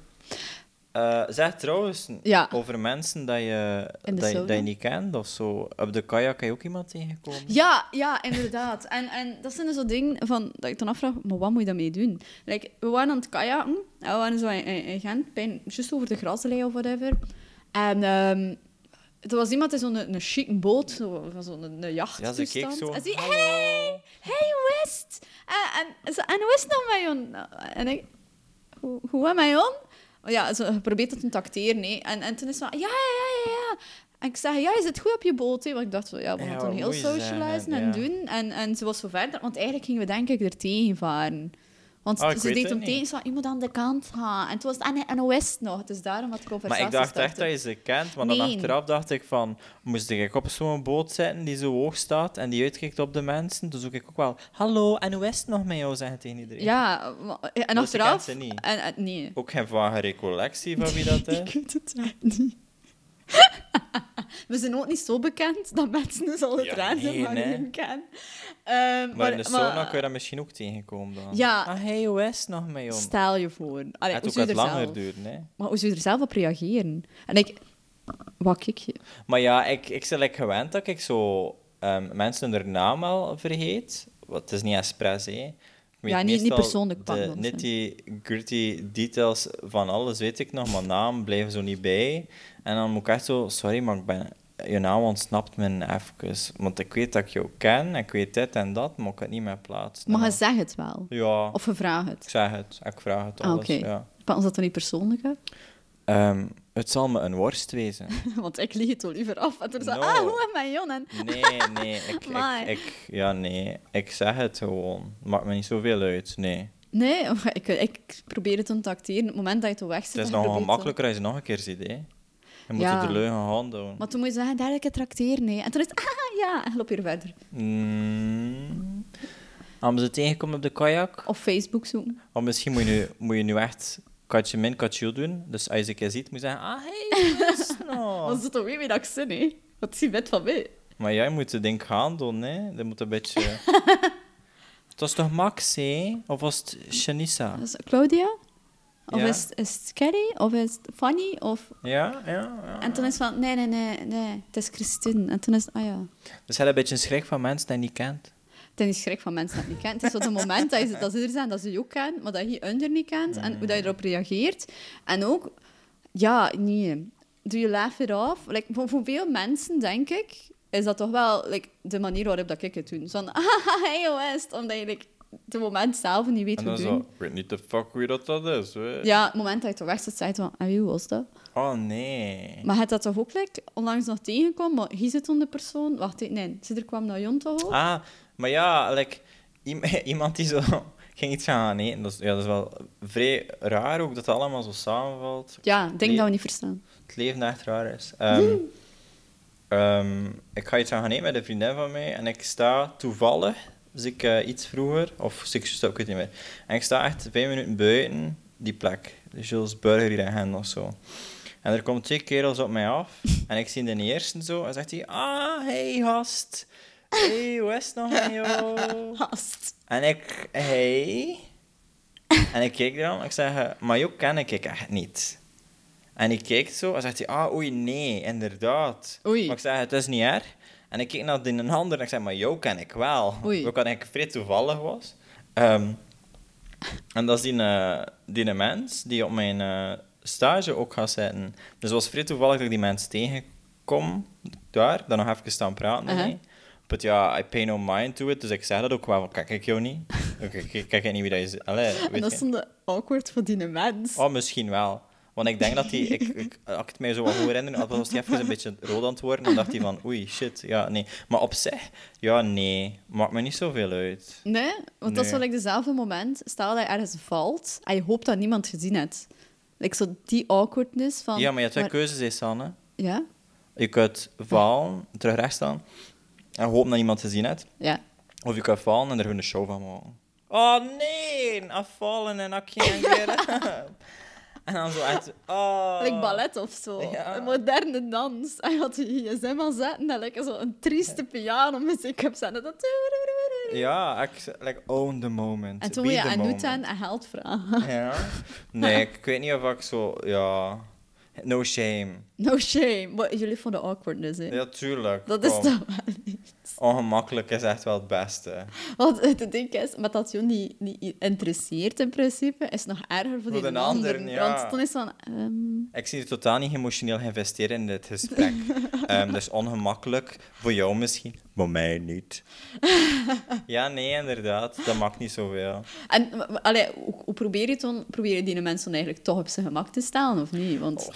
Speaker 2: Eh, zeg trouwens
Speaker 1: Ja.
Speaker 2: over mensen dat je,
Speaker 1: In de
Speaker 2: dat, je,
Speaker 1: sauna?
Speaker 2: dat je niet kent of zo. Op de kajak kan je ook iemand tegenkomen.
Speaker 1: Ja, ja, inderdaad. En, en dat zijn dus zo dingen van, dat ik dan afvraag, maar wat moet je daarmee doen? Like, we waren aan het kajaken, en we waren zo in, in, in Gent, bij, just over de graslei of whatever. En ehm, er was iemand in zo'n een, chic boot, zo, van zo'n een, een
Speaker 2: Ja,
Speaker 1: jachttoestand.
Speaker 2: ze keek zo,
Speaker 1: En ze zei,
Speaker 2: "Hallo."
Speaker 1: hey, hey, hoe is het? En, en, ze- en hoe is het nou met jou? En ik, hoe, hoe am I on? Oh Ja, ze probeert het te tacteren. hè. En, en toen is ze van, ja, ja, ja, ja, ja. En ik zeg, ja, is het goed op je boot? hè? Want ik dacht, zo, ja, we
Speaker 2: Ja,
Speaker 1: gaan
Speaker 2: wat
Speaker 1: toen heel
Speaker 2: moet je
Speaker 1: socializen
Speaker 2: zeggen,
Speaker 1: en
Speaker 2: ja.
Speaker 1: doen. En, en ze was zo verder, want eigenlijk gingen we denk ik er tegen varen. Want
Speaker 2: Ah, ik
Speaker 1: ze
Speaker 2: weet
Speaker 1: deed
Speaker 2: het
Speaker 1: hem
Speaker 2: niet.
Speaker 1: tegen, ze van, je moet aan de kant gaan. En toen was het, en, en hoe is het nog? Het is daarom dat ik
Speaker 2: Maar
Speaker 1: conversatie
Speaker 2: ik dacht echt
Speaker 1: startte.
Speaker 2: dat je ze kent, want dan
Speaker 1: Nee.
Speaker 2: achteraf dacht ik van, moest ik op zo'n boot zitten die zo hoog staat en die uitkijkt op de mensen? Toen zoek ik ook wel, hallo, en hoe is het nog met jou, zeggen tegen iedereen.
Speaker 1: Ja, maar- en
Speaker 2: je
Speaker 1: achteraf...
Speaker 2: kent ze niet.
Speaker 1: En, en- nee.
Speaker 2: Ook geen vage recollectie van wie dat
Speaker 1: Ik
Speaker 2: is.
Speaker 1: weet het echt niet. We zijn ook niet zo bekend dat mensen dus al het
Speaker 2: Ja,
Speaker 1: raar zijn
Speaker 2: nee,
Speaker 1: waar
Speaker 2: nee.
Speaker 1: je hem kent. Ehm,
Speaker 2: Maar in de sauna
Speaker 1: maar-
Speaker 2: kun je dat misschien ook tegenkomen dan.
Speaker 1: Ja.
Speaker 2: Ah, hey, hoe is het nog mee, om?
Speaker 1: Stel je voor. Allee, hoe
Speaker 2: het ook
Speaker 1: zou je
Speaker 2: wat
Speaker 1: er
Speaker 2: langer
Speaker 1: zelf...
Speaker 2: duren, hè.
Speaker 1: Maar hoe zou je er zelf op reageren? En ik... Wat ik je?
Speaker 2: Maar ja, ik, ik ben like gewend dat ik zo ehm, mensen hun naam al vergeet. Want het is niet expres, hè. Ik weet
Speaker 1: Ja, niet- niet
Speaker 2: meestal
Speaker 1: persoonlijk
Speaker 2: De
Speaker 1: pakken, want,
Speaker 2: nitty gritty details van alles weet ik nog, maar naam blijven zo niet bij. En dan moet ik echt zo, sorry, maar ik ben, je naam ontsnapt me even. Want ik weet dat ik jou ken, ik weet dit en dat, maar ik kan het niet meer plaatsen.
Speaker 1: Maar je zegt het wel.
Speaker 2: Ja,
Speaker 1: Of je vraagt
Speaker 2: ik
Speaker 1: het.
Speaker 2: zeg het, ik vraag het
Speaker 1: Ah,
Speaker 2: alles.
Speaker 1: oké.
Speaker 2: ja.
Speaker 1: Pas dat dan niet persoonlijk hè?
Speaker 2: Ehm, het zal me een worst wezen.
Speaker 1: Want ik lieg het al liever af. En toen zei
Speaker 2: No. Mm.
Speaker 1: ah, hoe met Jon? En
Speaker 2: Nee, nee. Ik, ik,
Speaker 1: Amai.
Speaker 2: ik, ja, nee. Ik zeg het gewoon. Maakt me niet zoveel uit. Nee.
Speaker 1: Nee, maar ik, ik probeer het te tacteren. Op het moment dat je het weg zit...
Speaker 2: Het is
Speaker 1: dan
Speaker 2: nog
Speaker 1: probeer je te-
Speaker 2: gemakkelijker als je het nog een keer ziet, hè. Je moet
Speaker 1: Ja.
Speaker 2: het de leugen houden. doen.
Speaker 1: Maar toen moet je zeggen, daar heb ik het tracteren. Nee. En toen is het, ah ja, en loop je verder.
Speaker 2: Mm. Als ze tegenkomen op de kajak...
Speaker 1: Of Facebook zoeken.
Speaker 2: Of misschien moet je nu, moet je nu echt katje min, katje doen. Dus als je ze een keer ziet, moet je zeggen... Ah, hey, hoe is het
Speaker 1: Dan
Speaker 2: nou?
Speaker 1: is het toch weer dat ik zin, hè? Wat zie je van mij?
Speaker 2: Maar jij moet het denk ik gaan doen, hè. Dat moet een beetje... Het was toch Max, hè? Of was het Shanissa?
Speaker 1: Dat is Dus Claudia? Of
Speaker 2: Ja.
Speaker 1: is, het- is het Kerry? Of is het Fanny? Of...
Speaker 2: Ja, ja, ja.
Speaker 1: En toen is het van, nee, nee, nee, nee, het is Christine. En toen is het, ah ja.
Speaker 2: Dus hij had een beetje een schrik van mensen die je niet kent.
Speaker 1: Het is niet schrik van mensen dat je niet kent. Het is tot het moment dat, je, dat ze er zijn, dat ze je ook kent, maar dat je onder niet kent en hoe dat je erop reageert. En ook, ja, nee. Doe je laugh it off? Like, voor, voor veel mensen, denk ik, is dat toch wel like, de manier waarop dat ik het doe. Zo Van, ah, hey, hoe is het? Omdat je like, het moment zelf niet weet
Speaker 2: En
Speaker 1: hoe
Speaker 2: dan
Speaker 1: doen.
Speaker 2: zo, ik weet niet de fuck wie dat dat is. hè.
Speaker 1: Ja, het moment dat je toch weg zit, zei je van, en wie was dat?
Speaker 2: Oh nee.
Speaker 1: Maar het dat toch ook like, onlangs nog tegengekomen, maar hier zit dan de persoon. Wacht, hè, nee, ze er kwam naar Jon toch ook?
Speaker 2: Ah, maar ja, like, iem- iemand die zo ging iets gaan eten. Dat is, ja, dat is wel vrij raar ook dat dat allemaal zo samenvalt.
Speaker 1: Ja, ik denk
Speaker 2: Nee.
Speaker 1: dat we niet verstaan.
Speaker 2: Het leven echt raar is. Ehm, ehm, ik ga iets gaan eten met een vriendin van mij en ik sta toevallig, dus ik eh, iets vroeger, of was ik stop, ik weet niet meer. En ik sta echt vijf minuten buiten die plek, de Jules Burger hier in Gent of zo. En er komt twee kerels op mij af en ik zie de eerste zo en zegt hij: Ah, hey gast, hey, hoe is het nog met jou?
Speaker 1: Haast.
Speaker 2: En ik, hey. En ik keek eraan en ik zeg, eh, maar jou ken ik echt niet. En ik keek zo en zegt hij, ah, oei, nee, inderdaad.
Speaker 1: Oei.
Speaker 2: Maar ik zeg, het is niet erg. En ik keek naar die een ander en ik zeg, maar jou ken ik wel.
Speaker 1: Oei.
Speaker 2: Ook al ik vrij toevallig was. Ehm, en dat is die, eh, die mens die op mijn eh, stage ook gaat zitten. Dus het was vrij toevallig dat ik die mens tegenkom daar, dan nog even staan praten
Speaker 1: Uh-huh.
Speaker 2: mee. But ja, I pay no mind to it, dus ik zeg dat ook wel, van, kijk ik jou niet? Ik kijk, ik kijk niet wie dat is. Allee,
Speaker 1: En
Speaker 2: weet
Speaker 1: dat
Speaker 2: je.
Speaker 1: stond awkward voor die mens.
Speaker 2: Oh, misschien wel. Want ik denk dat hij, ik, ik, als ik het mij zo wat goed herinner, dat was hij even een beetje rood aan het worden, dan dacht hij van, oei, shit, ja, nee. Maar op zich, ja, nee, maakt me niet zoveel uit.
Speaker 1: Nee, want dat is
Speaker 2: Nee.
Speaker 1: wel like, dezelfde moment. Stel dat je ergens valt en je hoopt dat niemand gezien hebt. Like, zo die awkwardness van...
Speaker 2: Ja, maar je hebt twee
Speaker 1: maar-
Speaker 2: keuzes, hè, Sanne.
Speaker 1: Ja,
Speaker 2: Je kunt vallen, terug rechts staan, en hopen dat iemand te zien heeft.
Speaker 1: ja.
Speaker 2: Of je kunt vallen en er gewoon een show van maken. Oh nee, I've fallen and I can't get up. en dan zo echt, oh.
Speaker 1: Like ballet of zo.
Speaker 2: Ja.
Speaker 1: Een moderne dans. En je had je gsm al zetten en like, zo een trieste piano muziek op zetten. Dat...
Speaker 2: Ja, ik, like, own the moment.
Speaker 1: En toen
Speaker 2: Be
Speaker 1: moet je
Speaker 2: the
Speaker 1: aan
Speaker 2: moment.
Speaker 1: Nutan en geld vragen.
Speaker 2: Ja. Nee, ik, ik weet niet of ik zo, ja... No shame.
Speaker 1: No shame. Maar jullie vonden awkwardness, hè?
Speaker 2: Ja, tuurlijk.
Speaker 1: Dat is
Speaker 2: kom.
Speaker 1: toch wel niet.
Speaker 2: Ongemakkelijk is echt wel het beste.
Speaker 1: Want het ding is, met dat je niet, niet interesseert in principe, is het nog erger voor die
Speaker 2: de
Speaker 1: anderen.
Speaker 2: anderen, ja.
Speaker 1: Want dan is het van... ehm,
Speaker 2: Ik zie je totaal niet emotioneel geïnvesteerd in dit gesprek. Ehm dus ongemakkelijk. Voor jou misschien, maar mij niet. ja, nee, inderdaad. Dat maakt niet zoveel.
Speaker 1: En w- w- allee, hoe, hoe probeer je het dan? Probeer je die mensen dan eigenlijk toch op zijn gemak te stellen, of niet? Want
Speaker 2: Oh.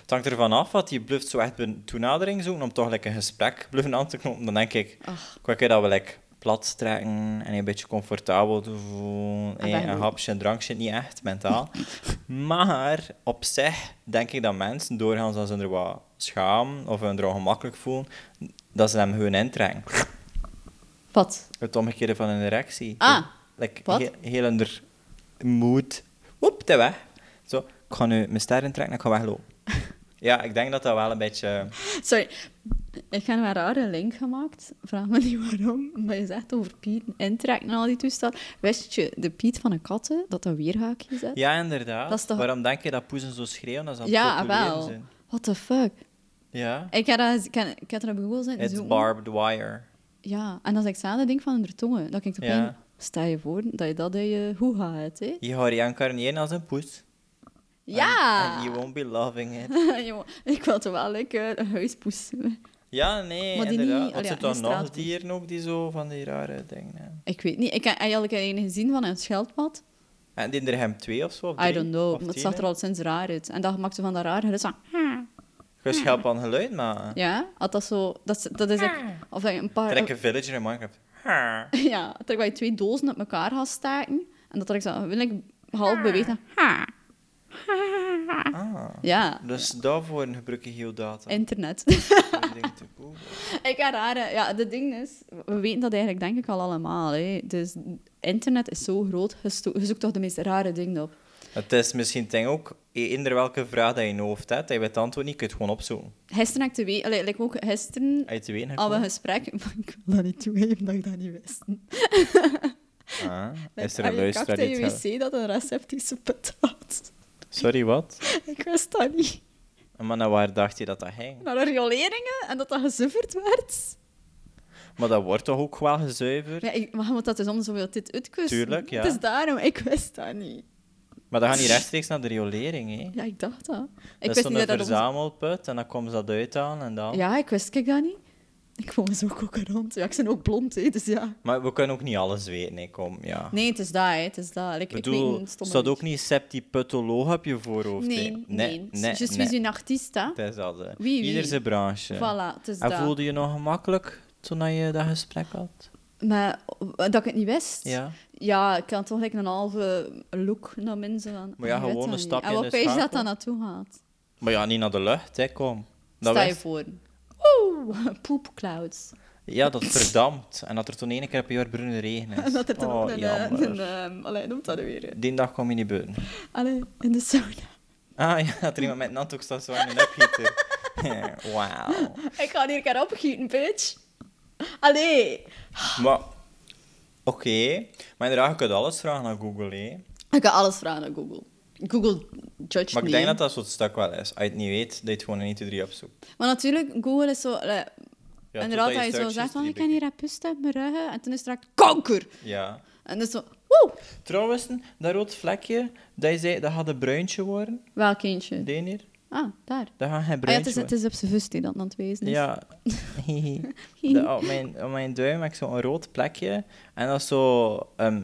Speaker 2: Het hangt ervan af wat je bluft zo echt een toenadering zoeken om toch lekker een gesprek bluffen aan te knopen. Dan denk ik,
Speaker 1: Ach.
Speaker 2: ik keer dat we lekker plat trekken en je een beetje comfortabel te voelen.
Speaker 1: Ah,
Speaker 2: Hey,
Speaker 1: dat
Speaker 2: een
Speaker 1: ook.
Speaker 2: hapje, een drankje, niet echt mentaal. maar op zich denk ik dat mensen doorgaans als ze er wat schaam of hun er ongemakkelijk voelen, dat ze hem gewoon intrekken.
Speaker 1: wat?
Speaker 2: Het omgekeerde van een erectie.
Speaker 1: Ah,
Speaker 2: like,
Speaker 1: wat?
Speaker 2: Heel, heel onder moed. Woep, de weg. Zo, ik ga nu mijn ster intrekken en ik ga weglopen. Ja, ik denk dat dat wel een beetje...
Speaker 1: Sorry, ik heb een rare link gemaakt. Vraag me niet waarom, maar je zegt over Piet intrekken en al die toestanden. Wist je, de Piet van een katten, dat dat weerhaakje zet?
Speaker 2: Ja, inderdaad.
Speaker 1: Dat is toch-
Speaker 2: Waarom denk je dat poezen zo schreeuwen als ze aan het
Speaker 1: Ja,
Speaker 2: populeren
Speaker 1: wel.
Speaker 2: zijn?
Speaker 1: What the fuck?
Speaker 2: Ja.
Speaker 1: Ik heb, dat, eens- ik heb, ik heb er op Google zitten
Speaker 2: It's
Speaker 1: zoeken.
Speaker 2: barbed wire.
Speaker 1: Ja, en dat is hetzelfde ding van onder tongen. Dat ik toch
Speaker 2: Ja.
Speaker 1: ja. Stel je voor dat je dat in je hoeha hebt, hè?
Speaker 2: Je gaat reïncarneren als een poes.
Speaker 1: Ja!
Speaker 2: En you won't be loving it.
Speaker 1: Jongen, ik wil toch wel lekker een huispoes.
Speaker 2: Ja, nee,
Speaker 1: Maar die
Speaker 2: inderdaad.
Speaker 1: niet-
Speaker 2: Want
Speaker 1: oh ja,
Speaker 2: zit dan
Speaker 1: geen
Speaker 2: nog
Speaker 1: straatpoes.
Speaker 2: dieren ook die zo van die rare dingen hebben?
Speaker 1: Ik weet niet. Ik heb eigenlijk een gezien van een schildpad.
Speaker 2: En die er hem twee of zo? Of
Speaker 1: I
Speaker 2: drie,
Speaker 1: don't know.
Speaker 2: Of
Speaker 1: Maar het
Speaker 2: tien,
Speaker 1: zag er
Speaker 2: hè?
Speaker 1: al sinds raar uit. En dat maakte van dat raar geluid. zo.
Speaker 2: Je schelp aan geluid maken.
Speaker 1: Ja, had dat zo... Dat, is- dat is echt... Of dat je een paar...
Speaker 2: Trek een villager in Minecraft. Haar.
Speaker 1: Ja, terwijl je twee dozen op elkaar gaat staken. En dat er ik zo... Wil ik half bewegen. Ha.
Speaker 2: Ah.
Speaker 1: Ja,
Speaker 2: Dus daarvoor gebruik je geodata.
Speaker 1: internet.
Speaker 2: Om die dingen te googlen.
Speaker 1: ik heb rare... Ja, de ding is... We weten dat eigenlijk denk ik al allemaal. Hè. Dus internet is zo groot. Je, sto- je zoekt toch de meest rare dingen op.
Speaker 2: Het is misschien het ding ook, eender welke vraag dat je in je hoofd hebt, dat je weet het antwoord niet, kun je het gewoon opzoeken.
Speaker 1: Gisteren heb ik te weten... Allee, like ook gisteren...
Speaker 2: Uit te weten.
Speaker 1: Al een
Speaker 2: gekomen.
Speaker 1: gesprek, maar ik wil dat niet toegeven dat ik dat niet wist.
Speaker 2: Ah, is er
Speaker 1: Aan
Speaker 2: een
Speaker 1: je
Speaker 2: luisteraar
Speaker 1: kaft
Speaker 2: die
Speaker 1: in
Speaker 2: het
Speaker 1: je wc dat een receptische patat.
Speaker 2: heeft? Sorry, wat?
Speaker 1: Ik wist dat niet.
Speaker 2: Maar naar waar dacht je dat dat ging?
Speaker 1: Naar de rioleringen en dat dat gezuiverd werd.
Speaker 2: Maar dat wordt toch ook wel gezuiverd?
Speaker 1: Ja, ik, maar je moet dat dus om zoveel tijd uitkussen.
Speaker 2: Tuurlijk, ja.
Speaker 1: Het is daarom, ik wist dat niet.
Speaker 2: Maar dat gaat niet rechtstreeks naar de riolering, hè?
Speaker 1: Ja, ik dacht dat. ik
Speaker 2: Dat is
Speaker 1: wist
Speaker 2: zo'n
Speaker 1: dat dat
Speaker 2: verzamelput en dan komen ze dat uit aan en dan...
Speaker 1: ons- Ja, ik wist ik dat niet. Ik vond me zo kokkerant. Ja, ik ben ook blond, hè, dus ja.
Speaker 2: Maar we kunnen ook niet alles weten, hè, kom, ja.
Speaker 1: Ah. Nee, het is dat, hè, het is dat. Like,
Speaker 2: Ik
Speaker 1: ik
Speaker 2: bedoel,
Speaker 1: weet een stomme
Speaker 2: staat ook
Speaker 1: liedje.
Speaker 2: niet septiputoloog op je voorhoofd, hè?
Speaker 1: Nee, nee. nee,
Speaker 2: nee,
Speaker 1: Je suis
Speaker 2: nee.
Speaker 1: une artiste, hè.
Speaker 2: Het is dat, hè.
Speaker 1: Wie, wie?
Speaker 2: Ieder zijn branche.
Speaker 1: Voilà, het is
Speaker 2: en
Speaker 1: dat.
Speaker 2: voelde je nog gemakkelijk toen dat je dat gesprek had?
Speaker 1: Maar w- dat ik het niet wist?
Speaker 2: Ja.
Speaker 1: Ja, ik kan toch like, een halve look naar mensen aan.
Speaker 2: Maar ja,
Speaker 1: Ik weet dat
Speaker 2: gewoon een
Speaker 1: niet.
Speaker 2: stapje
Speaker 1: En
Speaker 2: in
Speaker 1: wat
Speaker 2: de
Speaker 1: weet je dat
Speaker 2: schakel?
Speaker 1: daar naartoe gaat?
Speaker 2: Maar ja, niet naar de lucht, hè, kom. Dat
Speaker 1: Stel je
Speaker 2: wist-
Speaker 1: voor. Oeh, poepclouds.
Speaker 2: Ja, dat verdampt. En dat er toen één keer per jaar bruine regen is.
Speaker 1: En dat er dan
Speaker 2: oh,
Speaker 1: ook een... eh,
Speaker 2: jammer.
Speaker 1: een ehm, allee, noemt dat weer. hè.
Speaker 2: Die dag kom je niet buiten.
Speaker 1: Allee, in de sauna.
Speaker 2: Ah ja, dat er iemand met een handdoek staat zo aan een opgieter. Ja, Wauw.
Speaker 1: Ik ga hier een keer opgieten, bitch. Allee.
Speaker 2: Maar, oké. Maar inderdaad, je kunt alles vragen aan Google, hè.
Speaker 1: Ik ga alles vragen aan Google. Google judge
Speaker 2: Maar
Speaker 1: me,
Speaker 2: ik denk
Speaker 1: hè.
Speaker 2: dat dat soort stuk wel is. Als je het niet weet, dat je het gewoon in 1, 2, 3 opzoekt.
Speaker 1: Maar natuurlijk, Google is zo... allee,
Speaker 2: Ja,
Speaker 1: inderdaad,
Speaker 2: totdat
Speaker 1: dat je zo
Speaker 2: search
Speaker 1: zegt van,
Speaker 2: history
Speaker 1: ik ken
Speaker 2: bekijkt.
Speaker 1: hier een pust uit mijn ruggen. En toen is er een kanker.
Speaker 2: Ja.
Speaker 1: En dat is zo... Woe!
Speaker 2: Trouwens, dat rood vlekje, dat je zei, dat gaat een bruintje worden.
Speaker 1: Welk kindje?
Speaker 2: Die hier,
Speaker 1: Ah, daar.
Speaker 2: dat gaat geen
Speaker 1: Ah, ja, het,
Speaker 2: bruintje
Speaker 1: is, het
Speaker 2: worden.
Speaker 1: is op zijn vust die dat aan het wezen is.
Speaker 2: Ja, hihi. De- op, mijn, op mijn duim heb ik zo'n rood plekje. En dat is zo... ehm,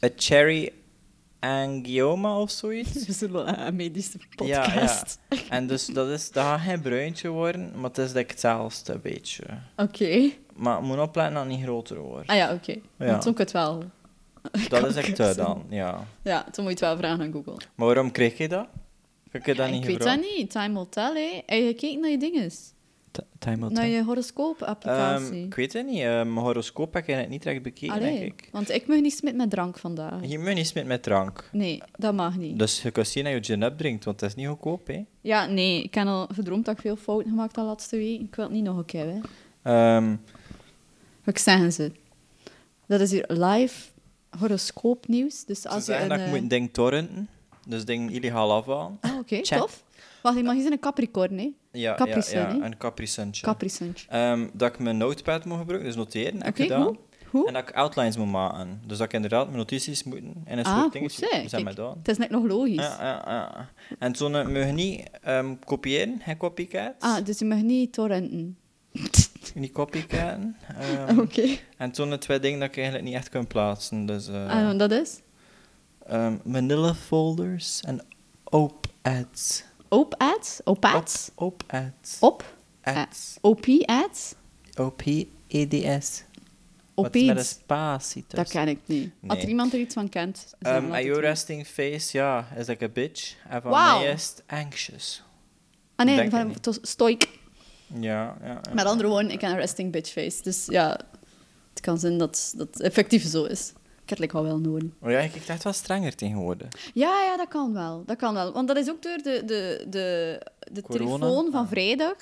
Speaker 2: een cherry angioma of zoiets.
Speaker 1: We zullen wel een medische
Speaker 2: Ja,
Speaker 1: podcast.
Speaker 2: Ja, En dus dat, is, dat gaat geen bruintje worden, maar het is like hetzelfde een beetje.
Speaker 1: Oké.
Speaker 2: Maar moet opletten dat het niet groter wordt.
Speaker 1: Ah ja, oké.
Speaker 2: Ja.
Speaker 1: Want toen kan het wel. Ah,
Speaker 2: Dat is echt
Speaker 1: kanker
Speaker 2: te
Speaker 1: zijn.
Speaker 2: dan, ja.
Speaker 1: Ja, toen moet je het wel vragen aan Google.
Speaker 2: Maar waarom kreeg je dat? Heb je dat
Speaker 1: ik
Speaker 2: niet
Speaker 1: weet
Speaker 2: gevraagd?
Speaker 1: dat niet. Time will tell, hé. Heb je gekeken naar je dinges?
Speaker 2: T- Time will
Speaker 1: Naar
Speaker 2: tell.
Speaker 1: je horoscoop-applicatie?
Speaker 2: Ehm, ik weet het niet. eh, Mijn horoscoop heb ik het niet recht bekeken,
Speaker 1: Allee,
Speaker 2: denk ik.
Speaker 1: want ik mag niet smitten met drank vandaag.
Speaker 2: Je moet niet met met drank.
Speaker 1: Nee, dat mag niet.
Speaker 2: Dus je kan zien dat je gin opdrinkt, want dat is niet goedkoop, hè.
Speaker 1: Ja, nee. Ik heb al gedroomd dat ik veel fouten gemaakt de laatste week. Ik wil het niet nog een keer, hè.
Speaker 2: Ehm,
Speaker 1: Wat zeggen ze? Dat is hier live horoscoopnieuws. Dus
Speaker 2: ze
Speaker 1: als je
Speaker 2: zeggen
Speaker 1: een...
Speaker 2: dat ik
Speaker 1: eh,
Speaker 2: moet een ding torrenten, dus ding illegaal afhalen.
Speaker 1: Ah, oké,
Speaker 2: Check.
Speaker 1: tof. Wacht, ik mag eens een Capricorn, hè?
Speaker 2: Ja,
Speaker 1: Capri
Speaker 2: ja,
Speaker 1: Sun,
Speaker 2: ja,
Speaker 1: hè?
Speaker 2: een Capri Suntje.
Speaker 1: Capri Suntje.
Speaker 2: Ehm, dat ik mijn notepad moet gebruiken, dus noteren, heb ik
Speaker 1: Oké,
Speaker 2: gedaan.
Speaker 1: goed. Goed.
Speaker 2: En dat ik outlines moet maken. Dus dat ik inderdaad mijn notities moet en een
Speaker 1: Ah,
Speaker 2: soort
Speaker 1: goed
Speaker 2: dingetje
Speaker 1: zeg.
Speaker 2: moet zijn
Speaker 1: Kijk,
Speaker 2: met dat.
Speaker 1: Het is net nog logisch.
Speaker 2: Ja, ja, ja. En zo'n eh, mag je niet ehm, kopiëren, geen copycat.
Speaker 1: Ah, dus je mag niet torrenten.
Speaker 2: Niet copycat.
Speaker 1: Oké.
Speaker 2: En zo'n twee dingen dat ik eigenlijk niet echt kan plaatsen. Dus eh,
Speaker 1: Ah, want dat is?
Speaker 2: ehm, Manila folders en op-ads.
Speaker 1: Op-ads? Op-ads?
Speaker 2: Op-ads.
Speaker 1: Op?
Speaker 2: Ads.
Speaker 1: OP-ads?
Speaker 2: O-P-E-D-S. E Wat is met een
Speaker 1: Op-ads?
Speaker 2: spatie
Speaker 1: E Dat
Speaker 2: tussen?
Speaker 1: ken ik niet. Als
Speaker 2: Nee.
Speaker 1: er iemand er iets van kent... zeg
Speaker 2: Ehm
Speaker 1: me
Speaker 2: en
Speaker 1: dat
Speaker 2: your
Speaker 1: het-
Speaker 2: resting face, ja, is like a bitch. En van
Speaker 1: Wauw.
Speaker 2: mij is het anxious.
Speaker 1: Ah nee,
Speaker 2: denk ik
Speaker 1: van
Speaker 2: niet. Ah.
Speaker 1: to- stoik.
Speaker 2: Ja, ja. ja.
Speaker 1: Met andere woorden, ik heb een resting bitch face. Dus ja, het kan zijn dat dat effectief zo is. Ik heb Kertelijk wel wel nodig.
Speaker 2: Maar ja, ik dacht wel strenger tegenwoordig. Ah,
Speaker 1: Ja, ja, dat kan wel. Dat kan wel. Want dat is ook door de, de, de, de
Speaker 2: Corona?
Speaker 1: telefoon van
Speaker 2: Ah.
Speaker 1: vrijdag.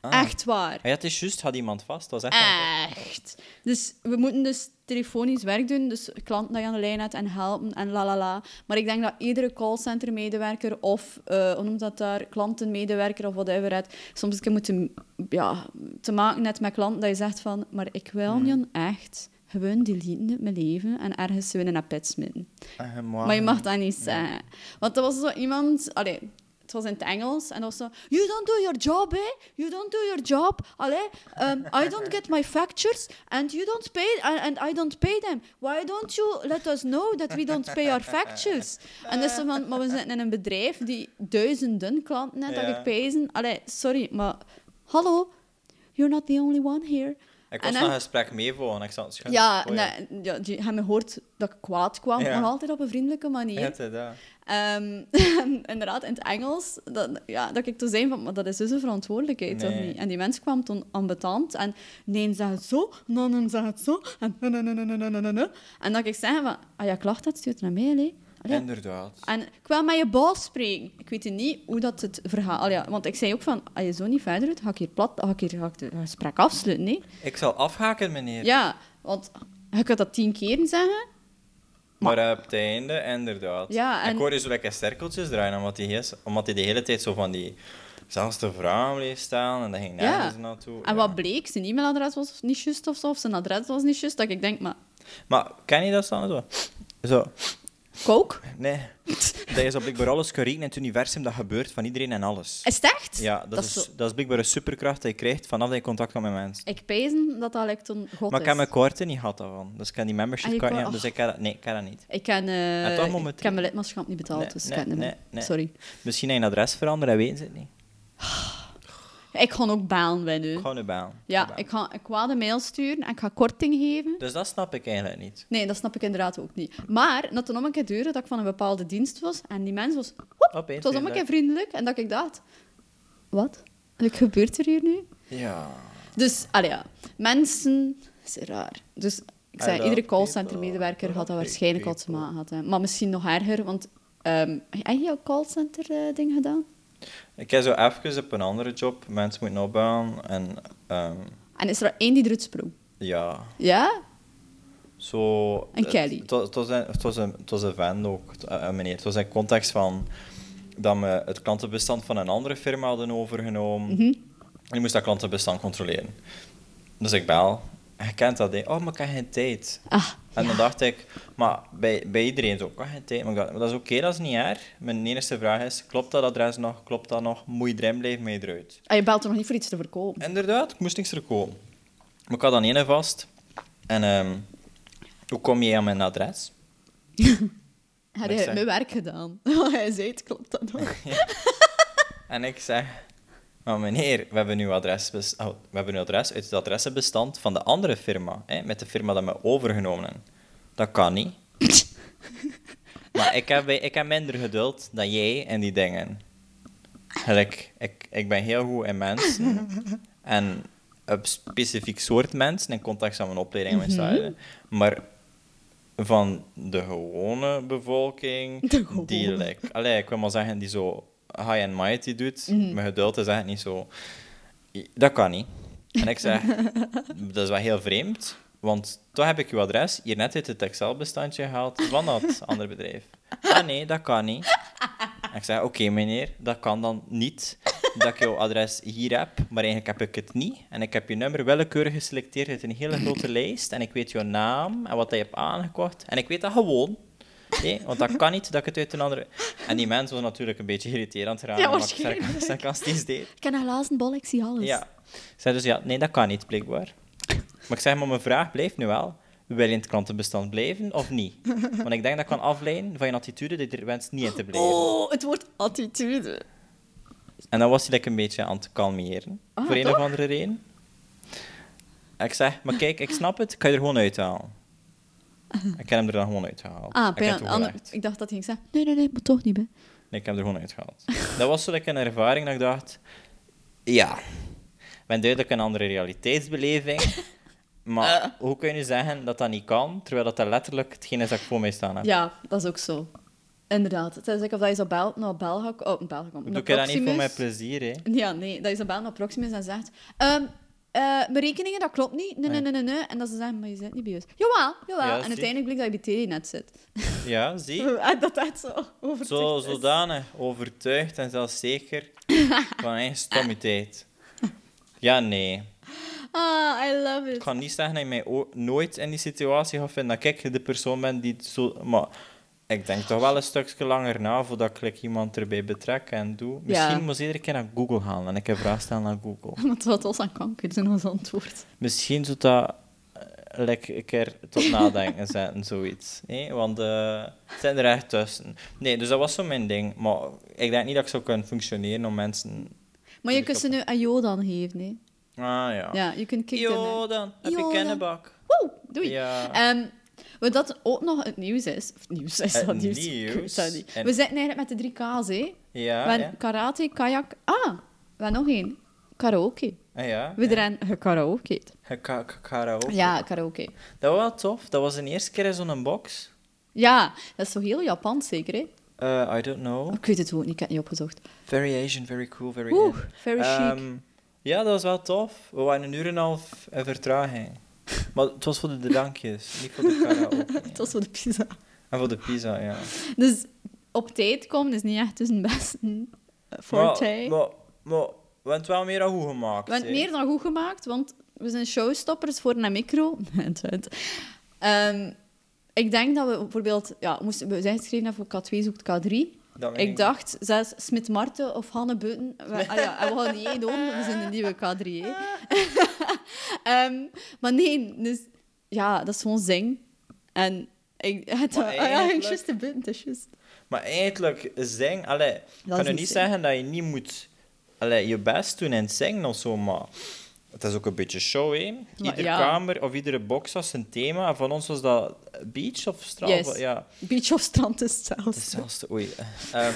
Speaker 2: Ah.
Speaker 1: Echt waar.
Speaker 2: Ah, ja, het is juist, had iemand vast. Het was
Speaker 1: Eh,
Speaker 2: echt wel-
Speaker 1: Echt. Dus we moeten dus telefonisch werk doen. Dus klanten dat je aan de lijn hebt en helpen en la la la. Maar ik denk dat iedere callcenter-medewerker of, eh hoe noemt dat daar, klantenmedewerker of whatever, het, soms een keer moet te- ja, te maken net met klanten dat je zegt van, maar ik wil
Speaker 2: Mm.
Speaker 1: niet echt gewoon deleten uit mijn leven en ergens winnen naar pet smitten.
Speaker 2: Ah, maar-
Speaker 1: Maar je mag dat niet zeggen. Want er was zo iemand... Allee, het was in het Engels. En dat was zo... You don't do your job, eh? You don't do your job. Allee, um, I don't get my factures. And you don't pay... And, and I don't pay them. Why don't you let us know that we don't pay our factures? En dat is zo van... Maar we zitten in een bedrijf die duizenden klanten heeft dat
Speaker 2: Ja.
Speaker 1: ik pezen. Allee, sorry, maar... Hallo? You're not the only one here.
Speaker 2: Ik
Speaker 1: En
Speaker 2: was
Speaker 1: dan-
Speaker 2: nog een gesprek mee voor, ik zat het schuin.
Speaker 1: Ja,
Speaker 2: Oh, ja.
Speaker 1: nee, ja, die hebben gehoord dat ik kwaad kwam,
Speaker 2: Ja.
Speaker 1: maar altijd op een vriendelijke manier.
Speaker 2: Ja, dat, ja.
Speaker 1: Ehm, inderdaad, in het Engels, dat, ja, dat ik toen zei van, maar dat is dus een verantwoordelijkheid, toch
Speaker 2: Nee.
Speaker 1: niet? En die mens kwam toen ambetant en de een zegt het zo, de ander zegt het zo, en na, na, na, na, na, na, na, na. En dat ik zei van, ah ja, klacht dat, stuurt naar mij, hè. Allee.
Speaker 2: Inderdaad.
Speaker 1: En ik wil met je baas spreken. Ik weet niet hoe dat het verhaal... Allee, want ik zei ook van, als je zo niet verder doet, ga ik hier plat, ga ik hier ga ik het gesprek afsluiten, hè.
Speaker 2: Ik zal afhaken, meneer.
Speaker 1: Ja, want je kunt dat tien keer zeggen,
Speaker 2: Maar eh, op het einde, inderdaad.
Speaker 1: Ja, en-
Speaker 2: Ik hoorde zo lekker cirkeltjes draaien, omdat hij, is, omdat hij de hele tijd zo van die zelfde vrouw bleef staan en dat ging
Speaker 1: Ja.
Speaker 2: nergens naartoe.
Speaker 1: En
Speaker 2: Ja.
Speaker 1: wat bleek? Zijn e-mailadres was niet juist of zo, of zijn adres was niet juist. Dat ik denk, maar
Speaker 2: Maar ken je dat staan zo? Zo,
Speaker 1: kook?
Speaker 2: nee. dat is op blijkbaar alles kan rekenen in het universum, dat gebeurt van iedereen en alles.
Speaker 1: Is het echt?
Speaker 2: Ja, dat,
Speaker 1: Dat
Speaker 2: is,
Speaker 1: is zo-
Speaker 2: dat is blijkbaar een superkracht die je krijgt vanaf dat je contact hebt met mensen.
Speaker 1: Ik pijzen dat dat like toen god
Speaker 2: Maar ik
Speaker 1: is.
Speaker 2: heb mijn kaarten niet gehad daarvan. Dus ik kan die
Speaker 1: Ah, je
Speaker 2: membership card niet
Speaker 1: kan-
Speaker 2: hebben, dus ik kan dat, nee, ik kan dat niet.
Speaker 1: Ik kan, eh,
Speaker 2: En toch
Speaker 1: ik- ik
Speaker 2: momenteel-
Speaker 1: heb mijn lidmaatschap niet betaald,
Speaker 2: Nee,
Speaker 1: dus ik
Speaker 2: nee,
Speaker 1: kan het niet
Speaker 2: nee,
Speaker 1: meer.
Speaker 2: nee.
Speaker 1: Sorry. Hm.
Speaker 2: Misschien heb je een adres veranderen, dat weten ze het niet.
Speaker 1: Ik ga ook baan winnen.
Speaker 2: Gewoon een baan.
Speaker 1: Ja, ik ga ik wou de mail sturen en ik ga korting geven.
Speaker 2: Dus dat snap ik eigenlijk niet.
Speaker 1: Nee, dat snap ik inderdaad ook niet. Maar dat toen om een keer duurde dat ik van een bepaalde dienst was en die mens was... Hoep,
Speaker 2: Opeens
Speaker 1: het was om een keer
Speaker 2: vriendelijk.
Speaker 1: vriendelijk en dat ik dacht... Wat? Wat gebeurt er hier nu?
Speaker 2: Ja.
Speaker 1: Dus, allee, ja. Mensen, is raar. Dus ik zei,
Speaker 2: I love
Speaker 1: iedere callcenter-medewerker
Speaker 2: people.
Speaker 1: had dat
Speaker 2: I
Speaker 1: waarschijnlijk al
Speaker 2: hate
Speaker 1: te maken gehad. hè. Maar misschien nog erger, want... ehm heb je jouw callcenter-ding eh, gedaan?
Speaker 2: Ik heb zo even op een andere job mensen moeten opbouwen en ehm,
Speaker 1: En is er één die eruit sprong?
Speaker 2: ja,
Speaker 1: Ja?
Speaker 2: zo...
Speaker 1: En Kelly.
Speaker 2: Het, het, was- het was een, het, was een, het was een vent ook, het- eh, een meneer. Het was in context van dat we het klantenbestand van een andere firma hadden overgenomen.
Speaker 1: Mhm.
Speaker 2: En ik moest dat klantenbestand controleren. Dus ik bel. En je kent dat, hè. Oh, maar ik heb geen tijd.
Speaker 1: Ah,
Speaker 2: En dan dacht ik, maar bij, bij iedereen zo, ik had geen tijd. Maar ik dacht, maar dat is oké, dat is niet erg. Mijn enige vraag is, klopt dat adres nog? Klopt dat nog? Moet je erin blijven, moet je eruit?
Speaker 1: en je belt er nog niet voor iets te verkopen.
Speaker 2: Inderdaad, ik moest niks verkopen. Maar ik had dan ene vast. En ehm, hoe kom je aan mijn adres?
Speaker 1: Heb
Speaker 2: ik
Speaker 1: je
Speaker 2: zeg-
Speaker 1: mijn werk gedaan? Hij zei het, klopt dat nog?
Speaker 2: En ik zeg, maar meneer, we hebben uw adres, bes- oh, we hebben uw adres uit het adressenbestand van de andere firma. Hè, met de firma dat we overgenomen hebben. Dat kan niet. maar ik heb, ik heb minder geduld dan jij en die dingen. Gelijk, ik, ik ben heel goed in mensen. en op specifiek soort mensen, in context van mijn opleiding en mijn
Speaker 1: Mhm.
Speaker 2: stage. Maar van de gewone bevolking,
Speaker 1: De gewone.
Speaker 2: die like, allee, ik wil maar zeggen, die zo high and mighty doet.
Speaker 1: Mhm.
Speaker 2: Mijn geduld is echt niet zo... I- Dat kan niet. En ik zeg, dat is wel heel vreemd, want toch heb ik uw adres hier net uit het Excel-bestandje gehaald van dat andere bedrijf. Ah nee, dat kan niet. En ik zeg, oké meneer, dat kan dan niet, dat ik jouw adres hier heb, maar eigenlijk heb ik het niet. En ik heb je nummer willekeurig geselecteerd uit een hele grote lijst en ik weet jouw naam en wat je hebt aangekocht. En ik weet dat gewoon. Nee, want dat kan niet dat ik het uit een andere... En die mens was natuurlijk een beetje irriterend geraakt,
Speaker 1: Ja,
Speaker 2: omdat ik
Speaker 1: waarschijnlijk.
Speaker 2: sarca- sarcastisch deed.
Speaker 1: Ik ken helaas een bol, ik zie alles.
Speaker 2: Ja. Ik zei dus, ja, nee, dat kan niet, blijkbaar. Maar ik zeg, maar mijn vraag blijft nu wel. Wil je in het klantenbestand blijven of niet? Want ik denk dat kan afleiden van je attitude dat je er wenst niet in te blijven.
Speaker 1: Oh, het wordt attitude.
Speaker 2: En dan was hij like, een beetje aan het kalmeren.
Speaker 1: Ah,
Speaker 2: voor een
Speaker 1: toch?
Speaker 2: of andere reden. En ik zeg, maar kijk, ik snap het, ik kan je er gewoon uithalen. Ik heb hem er dan gewoon uitgehaald.
Speaker 1: Ah,
Speaker 2: ik heb het
Speaker 1: bijna, ander-
Speaker 2: toegelaten.
Speaker 1: ik dacht dat hij ging zeggen, nee, nee, nee, moet toch niet, hè.
Speaker 2: Nee, ik heb er gewoon uitgehaald. Dat was zo like, een ervaring dat ik dacht... Ja, ik ben duidelijk een andere realiteitsbeleving. Maar
Speaker 1: Eh.
Speaker 2: hoe kun je nu zeggen dat dat niet kan, terwijl dat, dat letterlijk hetgeen is dat ik voor mij staan heb?
Speaker 1: Ja, dat is ook zo. Inderdaad. Het is like of dat je zo belt naar België... Oh, België.
Speaker 2: Doe
Speaker 1: naar
Speaker 2: ik dat niet voor
Speaker 1: Proximus.
Speaker 2: mijn plezier, hè?
Speaker 1: Ja, nee. Dat je zo belt naar Proximus en zegt... ehm eh, mijn rekeningen, dat klopt niet. Nee, nee, nee, nee, nee. En dat ze zeggen, maar je zit niet bij ons. Jawel, jawel.
Speaker 2: Ja,
Speaker 1: en
Speaker 2: zie.
Speaker 1: uiteindelijk blijkt dat je bij TD net zit.
Speaker 2: Ja, zie.
Speaker 1: En dat dat zo overtuigd
Speaker 2: Zo,
Speaker 1: is.
Speaker 2: zodanig overtuigd en zelfs zeker van eigen stommiteit. Ja, nee.
Speaker 1: Ah, I love
Speaker 2: Ik
Speaker 1: it.
Speaker 2: ga niet zeggen dat je mij o- nooit in die situatie gaat vinden dat ik de persoon ben die het zo... Maar ik denk toch wel een stukje langer na voordat ik like, iemand erbij betrek en doe. Misschien moet ze iedere keer naar Google gaan en ik heb vraag stellen aan Google.
Speaker 1: Maar het was ons aan kanker zijn ons antwoord.
Speaker 2: Misschien zou dat eh, like, een keer tot nadenken zetten, zoiets. hè? Want eh, het zijn er echt tussen. Nee, dus dat was zo mijn ding. Maar ik denk niet dat ik zou kunnen functioneren om mensen...
Speaker 1: Maar je
Speaker 2: Ik
Speaker 1: kunt ze
Speaker 2: op-
Speaker 1: nu aan Jodan geven, hè.
Speaker 2: Ah ja.
Speaker 1: Ja, je kunt kicken.
Speaker 2: Jo, dan heb je
Speaker 1: Jo, dan.
Speaker 2: kennenbak.
Speaker 1: Woe, doei.
Speaker 2: Ja.
Speaker 1: Ehm, wat dat ook nog het nieuws is... Of nieuws is
Speaker 2: Het
Speaker 1: dat nieuws.
Speaker 2: nieuws.
Speaker 1: Ik weet dat niet.
Speaker 2: En-
Speaker 1: We zitten eigenlijk met de drie K's, hè.
Speaker 2: Ja,
Speaker 1: we hebben
Speaker 2: ja.
Speaker 1: karate, kajak... Ah, we hebben nog één. Karaoke.
Speaker 2: Ah, ja.
Speaker 1: We hebben gekaraoke.
Speaker 2: Ka- ka- Karaoke.
Speaker 1: Ja, karaoke.
Speaker 2: Dat was wel tof. Dat was de eerste keer in zo'n box.
Speaker 1: Ja, dat is zo heel Japans zeker, hè?
Speaker 2: Eh, I don't know.
Speaker 1: Ik weet het ook niet, ik heb het niet opgezocht.
Speaker 2: Very Asian, very cool, very
Speaker 1: Oeh,
Speaker 2: in.
Speaker 1: very chic.
Speaker 2: Ehm, ja, dat was wel tof. We waren een uur en een half in vertraging. Maar het was voor de drankjes, niet voor de karaoke.
Speaker 1: Het was voor de pizza.
Speaker 2: En voor de pizza, ja.
Speaker 1: Dus op tijd komen is niet echt tussen best een eh, forte.
Speaker 2: Maar, maar, maar we hebben het wel meer dan goed gemaakt.
Speaker 1: We hebben
Speaker 2: hè.
Speaker 1: het meer dan goed gemaakt, want we zijn showstoppers voor een micro. Nee, het weet. Ehm, ik denk dat we bijvoorbeeld... Ja, we moesten, we zijn geschreven voor K2 zoekt K3.
Speaker 2: Dat weet
Speaker 1: Ik dacht, zelfs Smit Marten of Hanne Beuten. We, ah ja, en we gaan niet één doen, we zijn de nieuwe K3. hè.
Speaker 2: Ah.
Speaker 1: Ehm, maar nee, dus ja, dat is gewoon zing. En ik, het,
Speaker 2: Maar
Speaker 1: ah ja, ik
Speaker 2: eigenlijk-
Speaker 1: juist de Beuten, het is juist.
Speaker 2: Maar eigenlijk, zing... Allee, ik
Speaker 1: Dat
Speaker 2: kan
Speaker 1: is
Speaker 2: je
Speaker 1: niet
Speaker 2: niet
Speaker 1: zingen.
Speaker 2: zeggen dat je niet moet allee, je best doen in het zingen of zo, maar... Het is ook een beetje show, hè?
Speaker 1: Maar
Speaker 2: Iedere
Speaker 1: ja.
Speaker 2: kamer of iedere box was een thema. En van ons was dat beach of straal.
Speaker 1: Yes.
Speaker 2: Ja,
Speaker 1: Beach of strand is zelfs.
Speaker 2: hetzelfde. Oei. Ehm,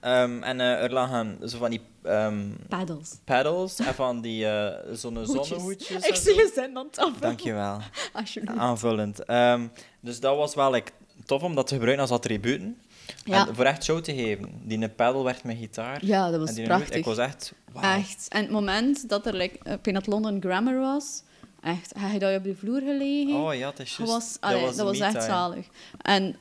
Speaker 2: ehm, en eh, er lagen zo van die ehm
Speaker 1: Paddles.
Speaker 2: paddles en van die eh zonne
Speaker 1: Hoedjes.
Speaker 2: zonnehoedjes.
Speaker 1: Ik
Speaker 2: en
Speaker 1: zie
Speaker 2: zo.
Speaker 1: je zijn aan tafel.
Speaker 2: Dankjewel.
Speaker 1: Alsjeblieft.
Speaker 2: Aanvullend. Ehm, dus dat was wel like, tof om dat te gebruiken als attributen.
Speaker 1: Ja.
Speaker 2: En voor echt show te geven. Die een paddle werd met gitaar.
Speaker 1: Ja, dat was
Speaker 2: en die
Speaker 1: prachtig.
Speaker 2: Hoed, ik was echt... Ah, wauw.
Speaker 1: Echt. En het moment dat er like, ik weet dat London Grammar was, echt, hij had dat op de vloer gelegen.
Speaker 2: Oh ja, dat is
Speaker 1: dat
Speaker 2: juist.
Speaker 1: was, allee, dat was,
Speaker 2: me
Speaker 1: echt
Speaker 2: time.
Speaker 1: zalig. En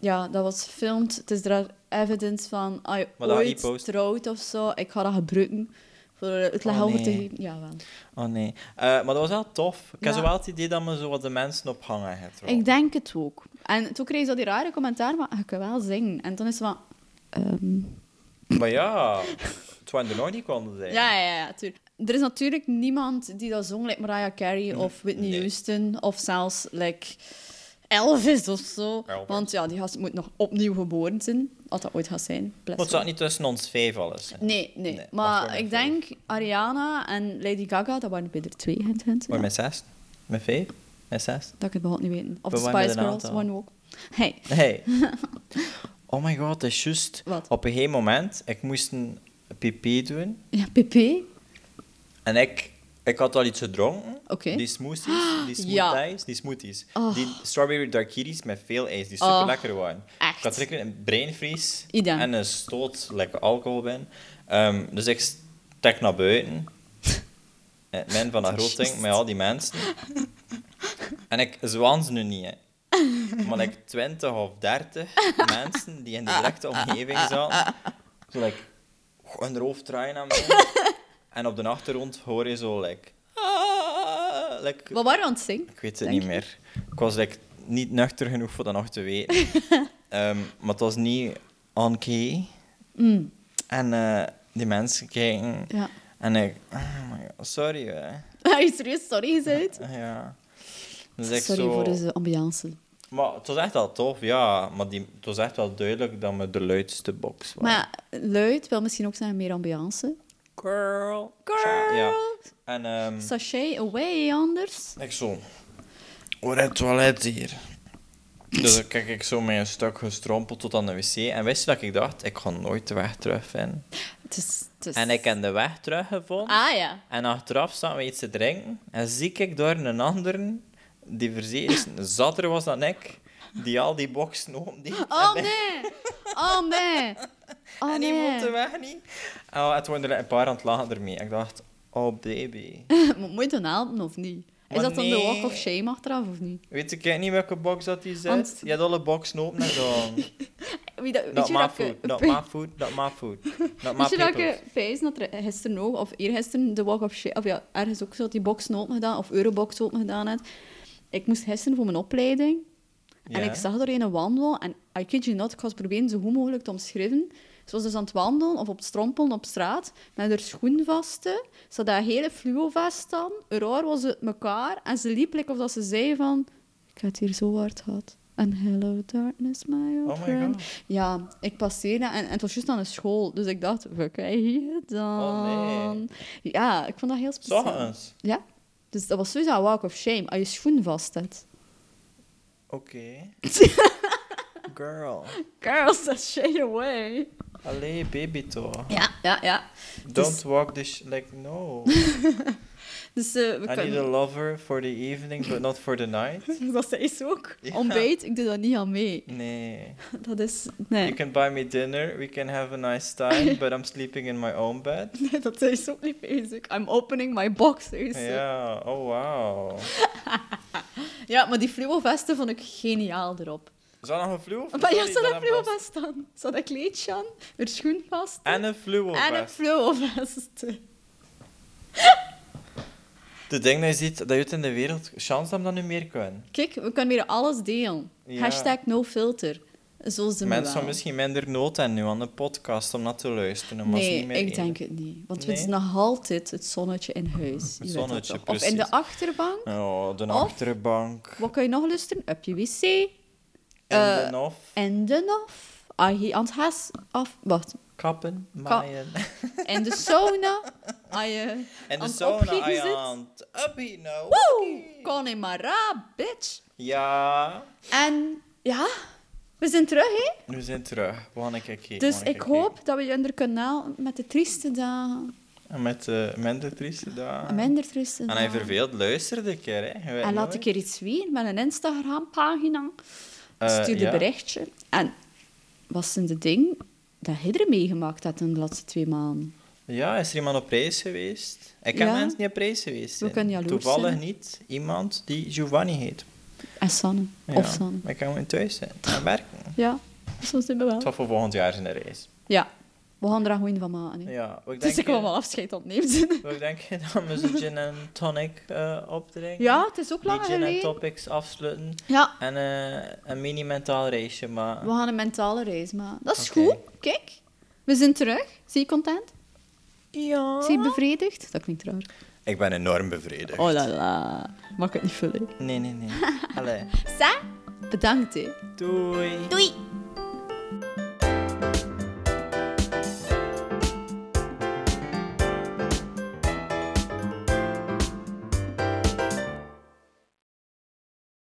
Speaker 1: ja, dat was gefilmd. Het is daar evidence van, als je
Speaker 2: Maar dat ga je niet
Speaker 1: ooit
Speaker 2: posten.
Speaker 1: trouwt of zo, ik ga dat gebruiken voor het
Speaker 2: Oh,
Speaker 1: leggen over te
Speaker 2: nee.
Speaker 1: geven. Ja, wel.
Speaker 2: Oh nee. Eh, maar dat was wel tof. Ik
Speaker 1: Ja.
Speaker 2: heb zo wel het idee dat me zo wat de mensen op hangen. Het
Speaker 1: Ik denk het ook. En toen kreeg je zo die rare commentaar, maar ik kan wel zingen. En toen is het van... ehm,
Speaker 2: Maar ja, het waren er nog niet konden zijn.
Speaker 1: Ja, ja, ja, tuurlijk. Er is natuurlijk niemand die dat zong, like Mariah Carey of Whitney
Speaker 2: Mm, Nee.
Speaker 1: Houston of zelfs like Elvis of zo.
Speaker 2: Elvis.
Speaker 1: Want ja, die gast moet nog opnieuw geboren zijn, als dat ooit gaat zijn. bless
Speaker 2: Maar het
Speaker 1: her.
Speaker 2: zat niet tussen ons vijf alles. hè.
Speaker 1: Nee, nee.
Speaker 2: Nee, dat
Speaker 1: maar
Speaker 2: was
Speaker 1: ik
Speaker 2: gewoon een
Speaker 1: denk Ariana en Lady Gaga, dat waren bij er twee, hint, hint.
Speaker 2: Maar
Speaker 1: ja.
Speaker 2: met zes? Met vijf? Met zes?
Speaker 1: Dat ik het behoorlijk niet weten. Of
Speaker 2: We
Speaker 1: de
Speaker 2: waren met
Speaker 1: Spice
Speaker 2: een
Speaker 1: Girls,
Speaker 2: aantal.
Speaker 1: One Walk. Hey.
Speaker 2: Hey. Oh my god, dat is juist.
Speaker 1: Wat?
Speaker 2: Op een gegeven moment, ik moest een pp doen.
Speaker 1: Ja, Pepe.
Speaker 2: En ik, ik had al iets gedronken.
Speaker 1: Oké.
Speaker 2: Die smoothies, die
Speaker 1: Ja.
Speaker 2: smoothies, die smoothies.
Speaker 1: Oh.
Speaker 2: Die strawberry darkiris met veel ijs, die
Speaker 1: Oh,
Speaker 2: super lekker waren.
Speaker 1: echt.
Speaker 2: Ik had zeker een brainvries
Speaker 1: Idem.
Speaker 2: en een stoot lekker alcohol ben. Ehm, dus ik stek naar buiten. Eh, Men van dat groot ding, met al die mensen. En ik zwaan ze nu niet, hè. Maar like 20 of 30 mensen die in de directe omgeving zaten, zo like, hun hoofd draaien aan mij. En op de achtergrond hoor je zo, like, "Ah," like,
Speaker 1: Wat waren we aan het zingen?
Speaker 2: ik weet het
Speaker 1: Denk
Speaker 2: niet meer. Ik was like, niet nuchter genoeg voor dat nog te weten. Ehm, maar het was niet on key. En eh, die mensen kijken.
Speaker 1: Mm. Ja.
Speaker 2: En ik, oh my god, sorry. Hè.
Speaker 1: Hij is serieus sorry gezegd.
Speaker 2: Ja. Dus ik
Speaker 1: Sorry
Speaker 2: zo...
Speaker 1: voor deze ambiance.
Speaker 2: Maar het was echt wel tof, ja. Maar die, het was echt wel duidelijk dat we de luidste box waren.
Speaker 1: Maar ja, luid wil misschien ook zijn meer ambiance.
Speaker 2: Girl.
Speaker 1: Girl.
Speaker 2: Ja. En ehm,
Speaker 1: Sachet away anders.
Speaker 2: ik zo... Hoor het toilet hier. Dus dan kijk ik zo met een stuk gestrompeld tot aan de wc. En wist je dat ik dacht, ik ga nooit de weg terugvinden.
Speaker 1: Het is, het is...
Speaker 2: En ik heb de weg teruggevonden.
Speaker 1: Ah ja.
Speaker 2: En achteraf staan we iets te drinken. En zie ik door een ander die verzekerd zatter was dan ik, die al die boxen opendeed.
Speaker 1: Oh
Speaker 2: en ik-
Speaker 1: nee! Oh nee! Oh
Speaker 2: en die vond de
Speaker 1: nee!
Speaker 2: weg niet. En het waren er een paar aan het lachen ermee. Ik dacht, oh baby.
Speaker 1: Mo- Moet je dan helpen of niet? Is
Speaker 2: Maar
Speaker 1: dat dan de
Speaker 2: nee.
Speaker 1: walk of shame achteraf of niet?
Speaker 2: Weet ik niet welke box dat die
Speaker 1: Want-
Speaker 2: zit? Je had alle boxen open en zo.
Speaker 1: Wie dat, weet
Speaker 2: Not
Speaker 1: je
Speaker 2: my
Speaker 1: dat ik-
Speaker 2: food, not my food, not my food. Not my
Speaker 1: Weet je dat
Speaker 2: people.
Speaker 1: ik eh, feest dat er gisteren nog, of eergisteren, de walk of shame, of ja, ergens ook zo, die boxen open gedaan, of Eurobox open gedaan had. Ik moest gisteren voor mijn opleiding, en
Speaker 2: Ja.
Speaker 1: ik zag er een wandelen, en I kid you not, ik was proberen zo goed mogelijk te omschrijven. Ze was dus aan het wandelen, of op het strompelen op straat, met haar schoen vaste. Ze had haar hele fluo vast aan, haar haar was uit elkaar, en ze liep like of dat ze zei van, ik had hier zo hard gehad. En hello darkness, my old
Speaker 2: Oh my
Speaker 1: friend.
Speaker 2: god.
Speaker 1: Ja, ik passeerde en, en het was juist aan de school. Dus ik dacht, we krijgen hier dan.
Speaker 2: Oh, nee.
Speaker 1: Ja, ik vond dat heel speciaal.
Speaker 2: Zag eens.
Speaker 1: Ja. Dus dat was sowieso een walk of shame. Als je schoen vast hebt.
Speaker 2: Oké. Girl.
Speaker 1: Girls, that's shade away.
Speaker 2: Allee, baby toch.
Speaker 1: Ja, ja, ja.
Speaker 2: Don't walk the sh- like no.
Speaker 1: Dus eh, we
Speaker 2: I need a
Speaker 1: kunnen...
Speaker 2: lover for the evening, but not for the night.
Speaker 1: Dat zei ze ook.
Speaker 2: Ja.
Speaker 1: Ontbijt, ik doe daar niet aan mee.
Speaker 2: Nee.
Speaker 1: Dat is... Nee.
Speaker 2: You can buy me dinner, we can have a nice time, but I'm sleeping in my own bed.
Speaker 1: Nee, dat zei ze ook niet bezig. I'm opening my box, zei ze.
Speaker 2: Ja, oh wow.
Speaker 1: Ja, maar die fluo vesten vond ik geniaal erop.
Speaker 2: Is dat nog een fluo? of
Speaker 1: Maar ja, ze
Speaker 2: sorry,
Speaker 1: had
Speaker 2: dat
Speaker 1: een
Speaker 2: heb
Speaker 1: fluo
Speaker 2: ik vast-
Speaker 1: vest aan. Ze had een kleedje aan, haar schoen vast.
Speaker 2: En een fluo
Speaker 1: En een
Speaker 2: vest.
Speaker 1: fluo-vest.
Speaker 2: De ding dat je ziet, dat je het in de wereld, chance dat we dat nu meer kunnen.
Speaker 1: Kijk, we kunnen weer alles delen.
Speaker 2: Ja.
Speaker 1: Hashtag no filter. Zo is de
Speaker 2: Mensen hebben misschien minder nood aan nu aan de podcast om dat te luisteren. Maar ze
Speaker 1: Nee,
Speaker 2: niet meer
Speaker 1: ik
Speaker 2: eten.
Speaker 1: denk het niet. Want
Speaker 2: Nee?
Speaker 1: het is nog altijd het zonnetje in huis. Je weet dat
Speaker 2: zonnetje,
Speaker 1: toch. Of in de
Speaker 2: precies.
Speaker 1: achterbank.
Speaker 2: Oh, de
Speaker 1: Of-
Speaker 2: achterbank.
Speaker 1: Wat kan je nog luisteren? Op je wc.
Speaker 2: En
Speaker 1: Eh,
Speaker 2: de nof.
Speaker 1: In de nof. Ah, hier aan het has af. Wacht.
Speaker 2: Kappen, maaien.
Speaker 1: In de sauna. Ah, je
Speaker 2: En de
Speaker 1: aan het
Speaker 2: sauna,
Speaker 1: opgieten
Speaker 2: ah ja,
Speaker 1: zit.
Speaker 2: aan het uppie nou.
Speaker 1: Woe! Connemara, bitch.
Speaker 2: Ja,
Speaker 1: En ja, we zijn terug, hè?
Speaker 2: we zijn terug. We gaan een keer kijken, we
Speaker 1: Dus
Speaker 2: gaan een
Speaker 1: ik
Speaker 2: keer kijken.
Speaker 1: hoop dat we je onder kunnen halen met de trieste dagen.
Speaker 2: En met de minder trieste dagen.
Speaker 1: Minder trieste
Speaker 2: En
Speaker 1: dagen.
Speaker 2: hij verveelt, luister de keer. Hè. Je weet
Speaker 1: En laat
Speaker 2: nooit.
Speaker 1: ik er iets weten met een Instagram-pagina.
Speaker 2: Eh,
Speaker 1: Stuur de
Speaker 2: ja.
Speaker 1: berichtje. En wat zijn de dingen dat je er meegemaakt hebt in de laatste twee maanden?
Speaker 2: Ja, is er iemand op reis geweest? Ik ken
Speaker 1: Ja.
Speaker 2: mensen die op reis geweest
Speaker 1: We
Speaker 2: zijn.
Speaker 1: kunnen jaloers
Speaker 2: Toevallig
Speaker 1: zijn, hè.
Speaker 2: niet iemand die Giovanni heet.
Speaker 1: En Sanne.
Speaker 2: Ja,
Speaker 1: Of Sanne.
Speaker 2: Maar ik kan gewoon thuis zijn en werken.
Speaker 1: Ja, zo zijn we
Speaker 2: Het
Speaker 1: wel.
Speaker 2: was voor volgend jaar zijn de reis.
Speaker 1: Ja, we gaan er een goeie van maken. hè.
Speaker 2: Ja, wat
Speaker 1: Dus
Speaker 2: denk eh,
Speaker 1: ik wil
Speaker 2: je,
Speaker 1: wel afscheid ontnemen.
Speaker 2: wat denk je dat we zo'n gin en tonic eh, opdrinken?
Speaker 1: Ja, het is ook
Speaker 2: Die
Speaker 1: lang
Speaker 2: gin en
Speaker 1: geleden.
Speaker 2: topics afsluiten.
Speaker 1: Ja,
Speaker 2: En eh, een mini-mentaal reisje, maar...
Speaker 1: we gaan een mentale reis maken. Dat is
Speaker 2: Oké.
Speaker 1: goed. Kijk, we zijn terug. Zie je content?
Speaker 2: Ja.
Speaker 1: Zie je bevredigd? Dat klinkt raar.
Speaker 2: Ik ben enorm bevredigd.
Speaker 1: Oh la la. Mag ik het niet vullen?
Speaker 2: Nee, nee, nee. Allee.
Speaker 1: Sa, bedankt hè.
Speaker 2: Doei.
Speaker 1: Doei!